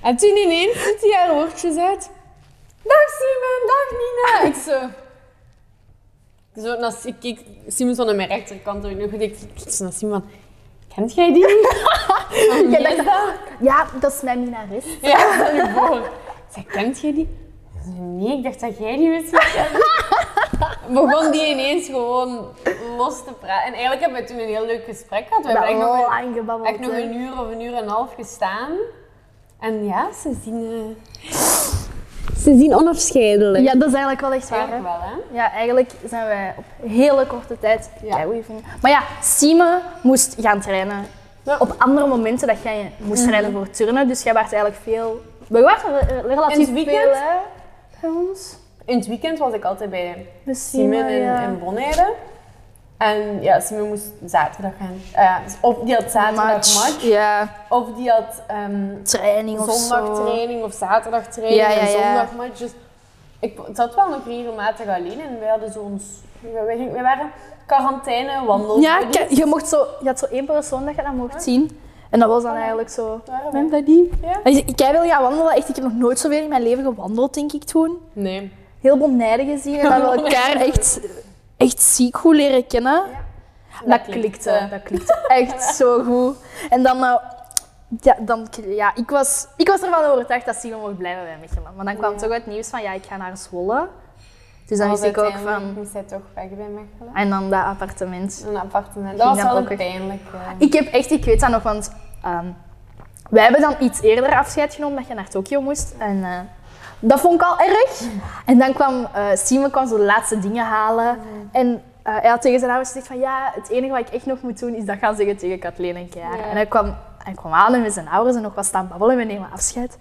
Speaker 2: En toen ineens ziet hij haar woordjes uit. Dag Simon, dag Nina! Ik zo... Zo, en als ik keek, Simon stond aan mijn rechterkant, en ik nog goed, ik keek zo naar Simon. Kent jij die? Van wie
Speaker 1: Jij
Speaker 2: is
Speaker 1: dacht-
Speaker 2: dat?
Speaker 1: Ja, dat is mijn minares.
Speaker 2: Ja, stel je voor. Zeg, kent jij die? Ik zei, Nee, ik dacht dat jij die wist. Begon die ineens gewoon los te praten. En eigenlijk hebben we toen een heel leuk gesprek gehad. We
Speaker 1: We hebben
Speaker 2: hebben echt nog, een,
Speaker 1: lang gebabbeld.
Speaker 2: echt nog
Speaker 1: hè.
Speaker 2: een uur of een uur en een half gestaan. En ja, ze zien... eh, ze zien onafscheidelijk.
Speaker 1: Ja, dat is eigenlijk wel echt waar, hè?
Speaker 2: Eigenlijk wel, hè?
Speaker 1: Ja, eigenlijk zijn wij op hele korte tijd
Speaker 2: Ja.
Speaker 1: keigoeie vrienden. Maar ja, Sime moest gaan trainen.
Speaker 2: Ja.
Speaker 1: Op andere momenten dat jij moest trainen voor turnen. Dus jij was eigenlijk veel... We waren re- re- relatief
Speaker 2: In het weekend?
Speaker 1: veel, hè, bij ons.
Speaker 2: In het weekend was ik altijd bij
Speaker 1: Met
Speaker 2: Simon
Speaker 1: Sime,
Speaker 2: in,
Speaker 1: ja.
Speaker 2: in Bonaire. En ja, Simon moest zaterdag gaan. Eh, of die had zaterdag match.
Speaker 1: Ja,
Speaker 2: Of die had ehm,
Speaker 1: training of zo.
Speaker 2: zondagtraining of zaterdagtraining
Speaker 1: Ja, ja,
Speaker 2: en
Speaker 1: ja.
Speaker 2: zondagmatch. Dus ik zat wel nog regelmatig alleen en wij hadden zo'n... Wij, wij, gingen- wij waren quarantaine Dus wandel.
Speaker 1: Ja, ke- je, mocht zo, je had zo één persoon dat je dat mocht zien. En dat was
Speaker 2: Oh
Speaker 1: dan eigenlijk zo...
Speaker 2: Waren wij?
Speaker 1: Mijn buddy.
Speaker 2: Ja.
Speaker 1: En Ik jij wil gaan wandelen. Echt, ik heb nog nooit zoveel in mijn leven gewandeld, denk ik, toen.
Speaker 2: Nee.
Speaker 1: heel bonaire gezien en dat we elkaar echt, echt ziek goed leren kennen. Dat, klikte,
Speaker 2: eh,
Speaker 1: dat klikte echt zo goed. En dan, eh, ja, dan ja, ik was, ik was ervan overtuigd dat Simon mocht blijven bij Mechelen. Maar dan kwam
Speaker 2: Ja. Oh,
Speaker 1: toch het nieuws van, ja, ik ga naar Zwolle. Dus dan
Speaker 2: Dan
Speaker 1: wist ik ook van,
Speaker 2: moest hij toch weg bij Mechelen.
Speaker 1: en dan dat appartement.
Speaker 2: Een appartement. Dat was
Speaker 1: dat
Speaker 2: wel
Speaker 1: ook echt-
Speaker 2: pijnlijk. eh.
Speaker 1: Ik heb echt, ik weet dat nog, want ehm, wij hebben dan iets eerder afscheid genomen dat je naar Tokio moest. En eh, dat vond ik al erg. En dan kwam eh Simon kwam zo de laatste dingen halen. En eh, hij had tegen zijn ouders gezegd van ja, het enige wat ik echt nog moet doen is dat gaan zeggen tegen Kathleen en Kiara.
Speaker 2: Ja.
Speaker 1: En hij kwam, hij kwam aan en met zijn ouders en nog wat staan babbelen en we nemen afscheid.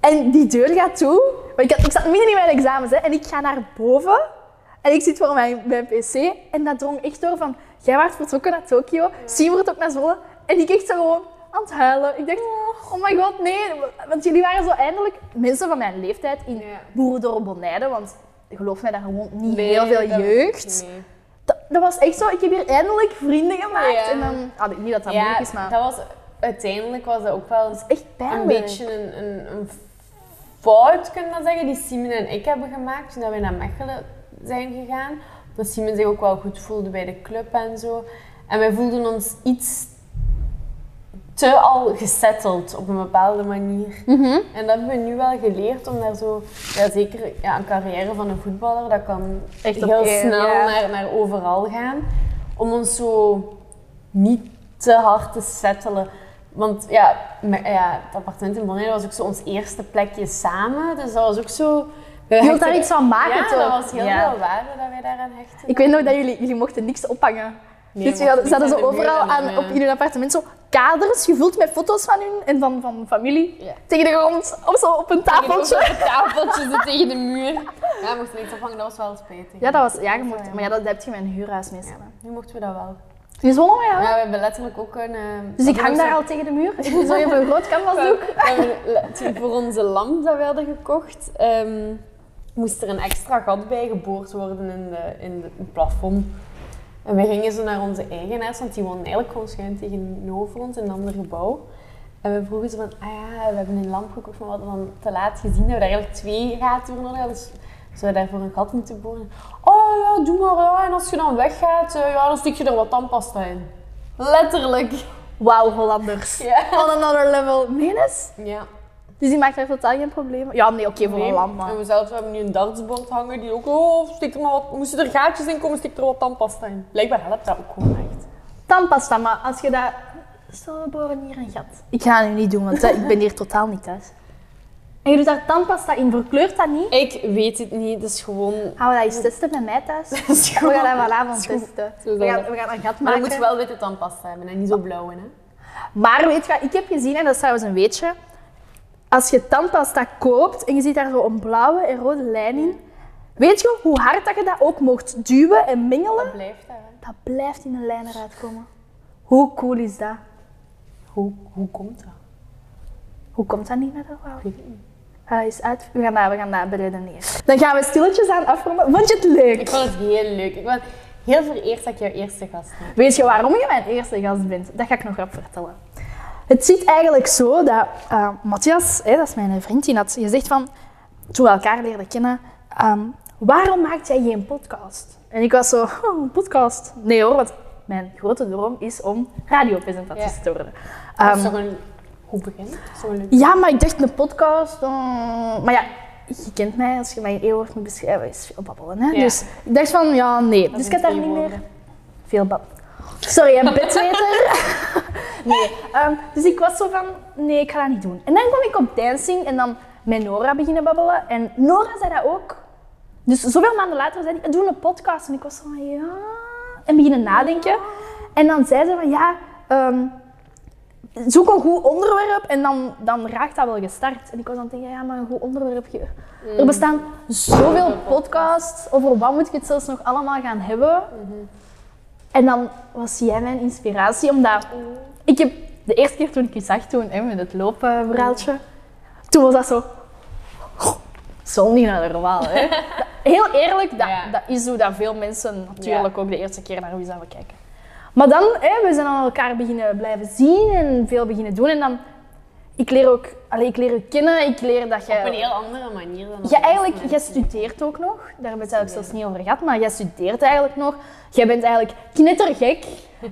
Speaker 1: En die deur gaat toe. Maar ik, had, ik zat midden in mijn examens hè, en ik ga naar boven. En ik zit voor mijn, mijn pc en dat drong echt door van... Jij waart vertrokken naar Tokio, Siem wordt ook naar Zwolle. En ik echt zo gewoon aan het huilen. Ik dacht, oh my god, nee. Want jullie waren zo eindelijk mensen van mijn leeftijd in
Speaker 2: Ja.
Speaker 1: Boerendorp Bonaire. Want geloof mij, daar woont niet
Speaker 2: Nee,
Speaker 1: heel veel
Speaker 2: dat-
Speaker 1: jeugd.
Speaker 2: nee.
Speaker 1: Dat- dat was echt zo, ik heb hier eindelijk vrienden gemaakt.
Speaker 2: Ja.
Speaker 1: En dan, ah, niet dat dat
Speaker 2: ja,
Speaker 1: moeilijk is, maar
Speaker 2: dat was, uiteindelijk was dat ook wel
Speaker 1: dat is echt pijnlijk.
Speaker 2: een beetje een, een, een fout, kunnen we dat zeggen, die Simon en ik hebben gemaakt toen dat wij naar Mechelen zijn gegaan. Dat Simon zich ook wel goed voelde bij de club en zo. En wij voelden ons iets te al gesetteld op een bepaalde manier.
Speaker 1: Mhm.
Speaker 2: En dat hebben we nu wel geleerd om daar zo, ja, zeker ja, een carrière van een voetballer, dat kan
Speaker 1: Echt op
Speaker 2: heel
Speaker 1: één,
Speaker 2: snel
Speaker 1: ja.
Speaker 2: naar, naar overal gaan. Om ons zo niet te hard te settelen. Want ja, me- ja het appartement in Bonaire was ook zo ons eerste plekje samen. Dus dat was ook zo. we
Speaker 1: Je wilt
Speaker 2: hechten-
Speaker 1: daar iets van maken,
Speaker 2: ja,
Speaker 1: toch?
Speaker 2: dat was heel
Speaker 1: Ja.
Speaker 2: veel waarde dat wij daaraan hechten.
Speaker 1: Ik weet nog dat jullie, jullie mochten niks ophangen.
Speaker 2: Nee, we
Speaker 1: dus jullie hadden-
Speaker 2: mochten
Speaker 1: ze hadden zo
Speaker 2: niet aan de
Speaker 1: overal
Speaker 2: muur en
Speaker 1: aan,
Speaker 2: dan,
Speaker 1: op
Speaker 2: eh,
Speaker 1: jullie appartement zo kaders gevuld met foto's van hun en van, van familie
Speaker 2: Ja.
Speaker 1: tegen de grond of zo op een tafeltje. dus
Speaker 2: Op het tafeltje zo tegen de muur. Ja, we mochten niks ophangen, dat was wel spijtig.
Speaker 1: Ja, dat was, ja, je mocht, maar ja, dat, dat heb je met een huurhuis meestal.
Speaker 2: Ja, Nu mochten we dat wel.
Speaker 1: Die is wel ja.
Speaker 2: Ja, we hebben letterlijk ook een. eh,
Speaker 1: Dus
Speaker 2: we
Speaker 1: ik hang
Speaker 2: hebben
Speaker 1: daar
Speaker 2: ook
Speaker 1: al tegen de muur. Ik doe zo even een groot
Speaker 2: zo'n-
Speaker 1: canvasdoek.
Speaker 2: We hebben let- voor onze lamp dat we hadden gekocht, ehm, moest er een extra gat bij geboord worden in, de, in de, het plafond. En we gingen zo naar onze eigenaars, want die woonden eigenlijk gewoon schuin tegenover ons in een ander gebouw. En we vroegen ze van, ah ja, we hebben een lamp gekocht, maar we hadden dan te laat gezien dat we daar eigenlijk twee gaten voor nodig hadden. Dus zouden we daarvoor een gat moeten boren? Oh ja, doe maar, ja. en als je dan weggaat, eh, ja, dan stik je er wat tandpasta in. Letterlijk.
Speaker 1: Wauw, Hollanders.
Speaker 2: Ja.
Speaker 1: On another level. Menes?
Speaker 2: Ja.
Speaker 1: Dus die maakt daar totaal geen probleem Ja, nee, oké, voor
Speaker 2: Nee.
Speaker 1: een lamp, maar.
Speaker 2: En we zelfs hebben nu een dartsbord hangen die ook, oh, stik er maar wat, moesten er gaatjes in komen, stik er wat tandpasta in. Blijkbaar helpt dat ook gewoon echt.
Speaker 1: Tandpasta, maar als je dat... Stel, we boren hier een gat. Ik ga het nu niet doen, want eh, ik ben hier totaal niet thuis. En je doet daar tandpasta in, verkleurt dat niet?
Speaker 2: Ik weet het niet, dat is gewoon... Oh
Speaker 1: Gaan we dat eens testen bij mij thuis? We
Speaker 2: Dat is gewoon...
Speaker 1: gaan dat
Speaker 2: dat
Speaker 1: vanavond
Speaker 2: is gewoon-
Speaker 1: testen.
Speaker 2: Zo zal
Speaker 1: We gaan,
Speaker 2: dat.
Speaker 1: we gaan een gat
Speaker 2: Maar dan
Speaker 1: maken.
Speaker 2: moet je wel witte tandpasta hebben en niet zo blauw in, hè.
Speaker 1: Maar weet je wat ik heb gezien, en dat is trouwens een weetje. Als je tandpasta koopt en je ziet daar zo een blauwe en rode lijn in, weet je hoe hard dat je dat ook mocht duwen en mengelen?
Speaker 2: Dat blijft daar, hè.
Speaker 1: Dat blijft in een lijn eruit komen. Hoe cool is dat?
Speaker 2: Hoe, hoe komt dat?
Speaker 1: Hoe komt dat niet naar de
Speaker 2: Ik weet het niet.
Speaker 1: Ga eens uit. We gaan daar, we gaan daar beredeneren. Dan gaan we stilletjes aan afronden. Vond je het leuk?
Speaker 2: Ik vond het heel leuk. Ik ben heel vereerd dat ik jouw eerste gast ben.
Speaker 1: Weet je waarom je mijn eerste gast bent? Dat ga ik nog grap vertellen. Het zit eigenlijk zo dat eh, Matthias, hè, dat is mijn vriend, die had gezegd van... Toen we elkaar leerden kennen, ehm, waarom maak jij geen podcast? En ik was zo, "Oh, een podcast? Nee hoor, want mijn grote droom is om radiopresentatrice
Speaker 2: Ja.
Speaker 1: te worden.
Speaker 2: Dat
Speaker 1: Ehm,
Speaker 2: is toch een goed begin? Dat is toch een leuk
Speaker 1: ja, maar ik dacht een podcast. eh, maar ja, je kent mij, als je mij in eeuw hoort me beschrijven, is veel babbelen. Hè?
Speaker 2: Ja.
Speaker 1: Dus ik dacht van, ja, nee. dus ik had
Speaker 2: zijn
Speaker 1: daar
Speaker 2: twee
Speaker 1: niet meer.
Speaker 2: woorden.
Speaker 1: Veel babbelen. Sorry, een bedweter. nee. ehm, dus ik was zo van, nee, ik ga dat niet doen. En dan kwam ik op dancing en dan met Nora beginnen babbelen. En Nora zei dat ook. Dus zoveel maanden later zei ik, "Eh, doe een podcast. En ik was zo van, ja... En beginnen nadenken. En dan zei ze van, ja... ehm, zoek een goed onderwerp en dan, dan raakt dat wel gestart. En ik was dan tegen, ja, maar een goed onderwerp. je- Er bestaan zoveel podcasts, over wat moet ik het zelfs nog allemaal gaan hebben? En dan was jij mijn inspiratie, omdat ik heb de eerste keer toen ik je zag toen, hè, met het loopverhaaltje, toen was dat zo... Zondig naar de waal, hè. Heel eerlijk, dat,
Speaker 2: Ja.
Speaker 1: dat is hoe dat veel mensen natuurlijk ook de eerste keer naar hoe zouden kijken. Maar dan, hè, we zijn aan elkaar beginnen blijven zien en veel beginnen doen. En dan, ik leer ook, allee, ik leer je kennen, ik leer dat
Speaker 2: Op een
Speaker 1: jij...
Speaker 2: heel andere manier dan...
Speaker 1: Je
Speaker 2: op de
Speaker 1: eigenlijk,
Speaker 2: eerste
Speaker 1: jij
Speaker 2: mensen.
Speaker 1: studeert ook nog, daar hebben we het eigenlijk zelfs niet over gehad, maar jij studeert eigenlijk nog. Jij bent eigenlijk knettergek.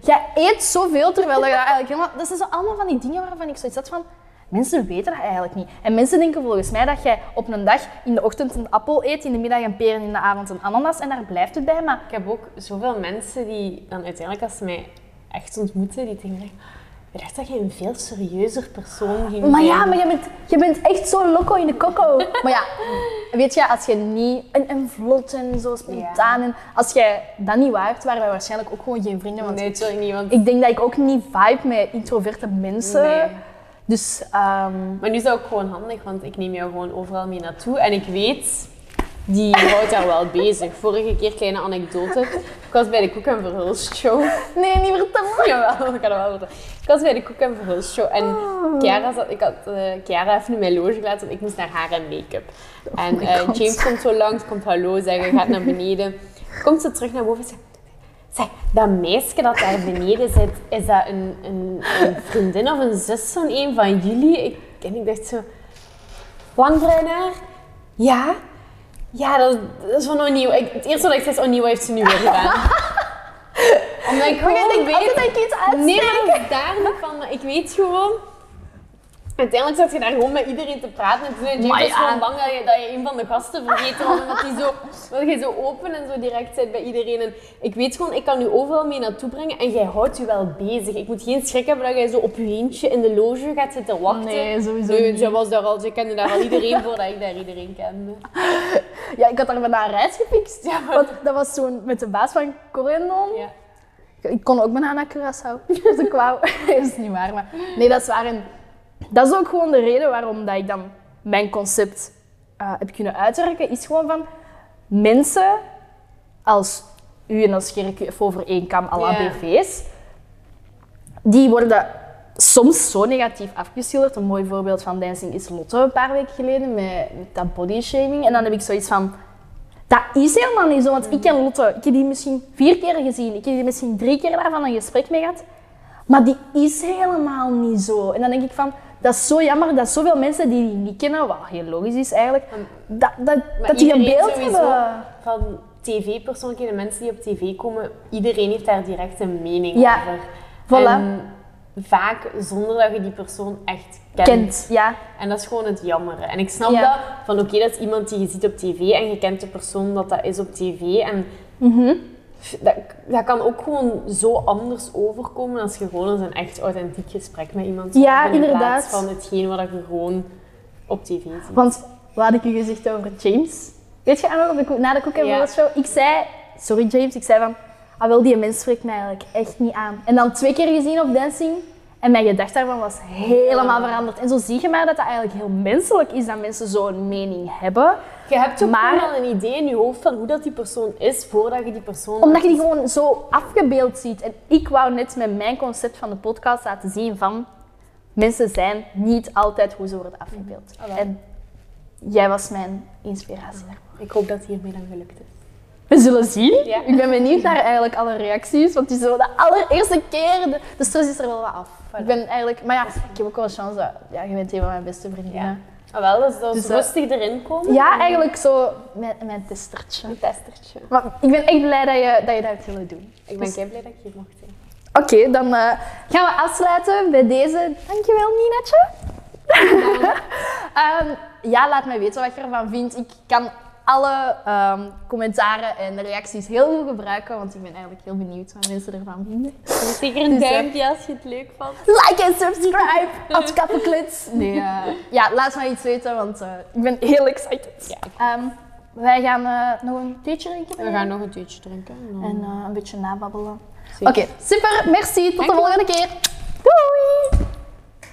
Speaker 1: Jij eet zoveel, terwijl dat je dat eigenlijk helemaal... Dat zijn zo allemaal van die dingen waarvan ik zoiets had van... Mensen weten dat eigenlijk niet. En mensen denken volgens mij dat jij op een dag in de ochtend een appel eet, in de middag een peer en in de avond een ananas. En daar blijft het bij, maar
Speaker 2: Ik heb ook zoveel mensen die dan uiteindelijk, als ze mij echt ontmoeten, die tegen mij zeggen, ik dacht dat je een veel serieuzer persoon ging
Speaker 1: Maar ja,
Speaker 2: zijn."
Speaker 1: maar jij bent, jij bent echt zo loco in de coco. maar ja, weet je, als je niet... En, en vlot en zo spontaan. En als jij dat niet waard, waren wij waarschijnlijk ook gewoon geen vrienden. Want
Speaker 2: Nee, natuurlijk niet, want...
Speaker 1: ik denk dat ik ook niet vibe met introverte mensen.
Speaker 2: Nee.
Speaker 1: Dus ehm,
Speaker 2: Maar nu is dat ook gewoon handig, want ik neem jou gewoon overal mee naartoe. En ik weet, die houdt daar wel bezig. Vorige keer, kleine anekdote. Ik was bij de Koek en Verhulst show.
Speaker 1: nee, niet vertellen.
Speaker 2: Jawel, ik kan wel vertellen. Ik was bij de Koek en Verhulst show en
Speaker 1: Oh.
Speaker 2: Chiara, zat, ik had, eh, Chiara heeft nu mijn loge gelaten, want ik moest naar haar en make-up. En
Speaker 1: Oh my
Speaker 2: eh,
Speaker 1: God.
Speaker 2: James komt zo langs, komt hallo zeggen, gaat naar beneden. Komt ze terug naar boven en zegt... Zeg, dat meisje dat daar beneden zit, is dat een, een, een vriendin of een zus van een van jullie? Ik, en ik dacht zo, lang bruin haar? Ja? Ja, dat, dat is van O'Neill. Ik- Het eerste wat ik zei is, O'Neill heeft ze nu weer gedaan. Omdat ik
Speaker 1: Maar jij
Speaker 2: gewoon
Speaker 1: denkt altijd
Speaker 2: weet...
Speaker 1: dat ik iets uitsteek.
Speaker 2: Nee, maar dat is daar niet van, maar ik weet gewoon... Uiteindelijk zat je daar gewoon met iedereen te praten en toen en James
Speaker 1: Maar
Speaker 2: was
Speaker 1: ja.
Speaker 2: gewoon bang dat je, dat je een van de gasten vergeten was, omdat die zo, dat je zo open en zo direct bent bij iedereen. En ik weet gewoon, ik kan u overal mee naartoe brengen en jij houdt je wel bezig. Ik moet geen schrik hebben dat jij zo op je eentje in de loge gaat zitten wachten.
Speaker 1: Nee, sowieso
Speaker 2: Nee,
Speaker 1: niet.
Speaker 2: zij was daar al, zij kende daar al iedereen voordat ik daar iedereen kende.
Speaker 1: Ja, ik had daar bijna een reis gefixt.
Speaker 2: Ja, maar-
Speaker 1: Want dat was zo'n met de baas van Corendon.
Speaker 2: Ja.
Speaker 1: Ik- Ik kon ook bijna naar Curaçao. Dus ik wou. is niet waar, maar... Nee, dat is waar. En dat is ook gewoon de reden waarom dat ik dan mijn concept eh, heb kunnen uitwerken. Is gewoon van... Mensen als u en als Gerk even over één kam à la
Speaker 2: Ja.
Speaker 1: BV's... Die worden soms zo negatief afgeschilderd. Een mooi voorbeeld van Dancing is Lotte een paar weken geleden met, met dat bodyshaming. En dan heb ik zoiets van... Dat is helemaal niet zo, want ik
Speaker 2: Mm.
Speaker 1: ken Lotte. Ik heb die misschien vier keer gezien. Ik heb die misschien drie keer daarvan een gesprek mee gehad. Maar die is helemaal niet zo. En dan denk ik van, dat is zo jammer dat zoveel mensen die die niet kennen, wat heel logisch is eigenlijk, dat, dat,
Speaker 2: Maar
Speaker 1: dat die een
Speaker 2: iedereen
Speaker 1: beeld
Speaker 2: sowieso
Speaker 1: hebben.
Speaker 2: Van tv-persoonlijkheden, mensen die op tv komen, iedereen heeft daar direct een mening
Speaker 1: Ja,
Speaker 2: over.
Speaker 1: voilà.
Speaker 2: En vaak zonder dat je die persoon echt kent.
Speaker 1: Kent, ja.
Speaker 2: En dat is gewoon het jammer. En ik snap
Speaker 1: Ja.
Speaker 2: dat van oké, dat is iemand die je ziet op tv en je kent de persoon dat dat is op tv. En
Speaker 1: Mhm.
Speaker 2: f- dat, dat kan ook gewoon zo anders overkomen als je gewoon eens een echt authentiek gesprek met iemand
Speaker 1: Ja,
Speaker 2: hebt, In
Speaker 1: inderdaad.
Speaker 2: plaats van hetgeen wat je gewoon op tv ziet.
Speaker 1: Want wat had ik u gezegd over James? Weet je, Anne, op de, koe- na de Cook and
Speaker 2: Ja.
Speaker 1: Roll Show, ik zei, sorry James, ik zei van, ah wel, die mens spreekt mij eigenlijk echt niet aan. En dan twee keer gezien op Dancing en mijn gedachte daarvan was helemaal
Speaker 2: Ah.
Speaker 1: veranderd. En zo zie je maar dat dat eigenlijk heel menselijk is dat mensen zo'n mening hebben.
Speaker 2: Je hebt ook
Speaker 1: Maar-
Speaker 2: gewoon al een idee in je hoofd van hoe dat die persoon is voordat je die persoon.
Speaker 1: Omdat je die gewoon zo afgebeeld ziet. En ik wou net met mijn concept van de podcast laten zien van... Mensen zijn niet altijd hoe ze worden afgebeeld.
Speaker 2: Ah, wel.
Speaker 1: En jij was mijn inspiratie.
Speaker 2: Ik hoop dat hiermee dan gelukt is.
Speaker 1: We zullen zien.
Speaker 2: Ja.
Speaker 1: Ik ben benieuwd naar eigenlijk alle reacties. Want die zo de allereerste keer... De, de stress is er wel wat af. Ik ben eigenlijk... Maar ja, ik heb ook wel een chance. dat- Ja, je bent een van mijn beste vriendinnen.
Speaker 2: Ah, wel, dus dat is
Speaker 1: Dus, eh,
Speaker 2: rustig erin
Speaker 1: Ja,
Speaker 2: komen.
Speaker 1: eigenlijk zo mijn, mijn testertje.
Speaker 2: Een testertje.
Speaker 1: Maar ik ben echt blij dat je dat, je dat hebt willen doen.
Speaker 2: Ik ben kei blij dat ik hier mocht zijn.
Speaker 1: Oké, dan eh, gaan we afsluiten bij deze. Dankjewel, Ninetje. Ehm, ja, laat mij weten wat je ervan vindt. Ik kan alle ehm, commentaren en reacties heel goed gebruiken, want ik ben eigenlijk heel benieuwd wat mensen ervan vinden.
Speaker 2: Zeker een
Speaker 1: Dus, eh,
Speaker 2: duimpje als je het leuk vond.
Speaker 1: Like en subscribe, als kappenklits. Nee, eh, ja, laat mij iets weten, want eh, ik ben heel excited.
Speaker 2: Ja, ik-
Speaker 1: Ehm, wij gaan eh, nog een theetje drinken.
Speaker 2: We gaan nog een tuutje drinken. en dan-
Speaker 1: En eh, een beetje nababbelen. Oké,
Speaker 2: Zeker.
Speaker 1: super, merci. Tot de
Speaker 2: Dankjewel.
Speaker 1: volgende keer.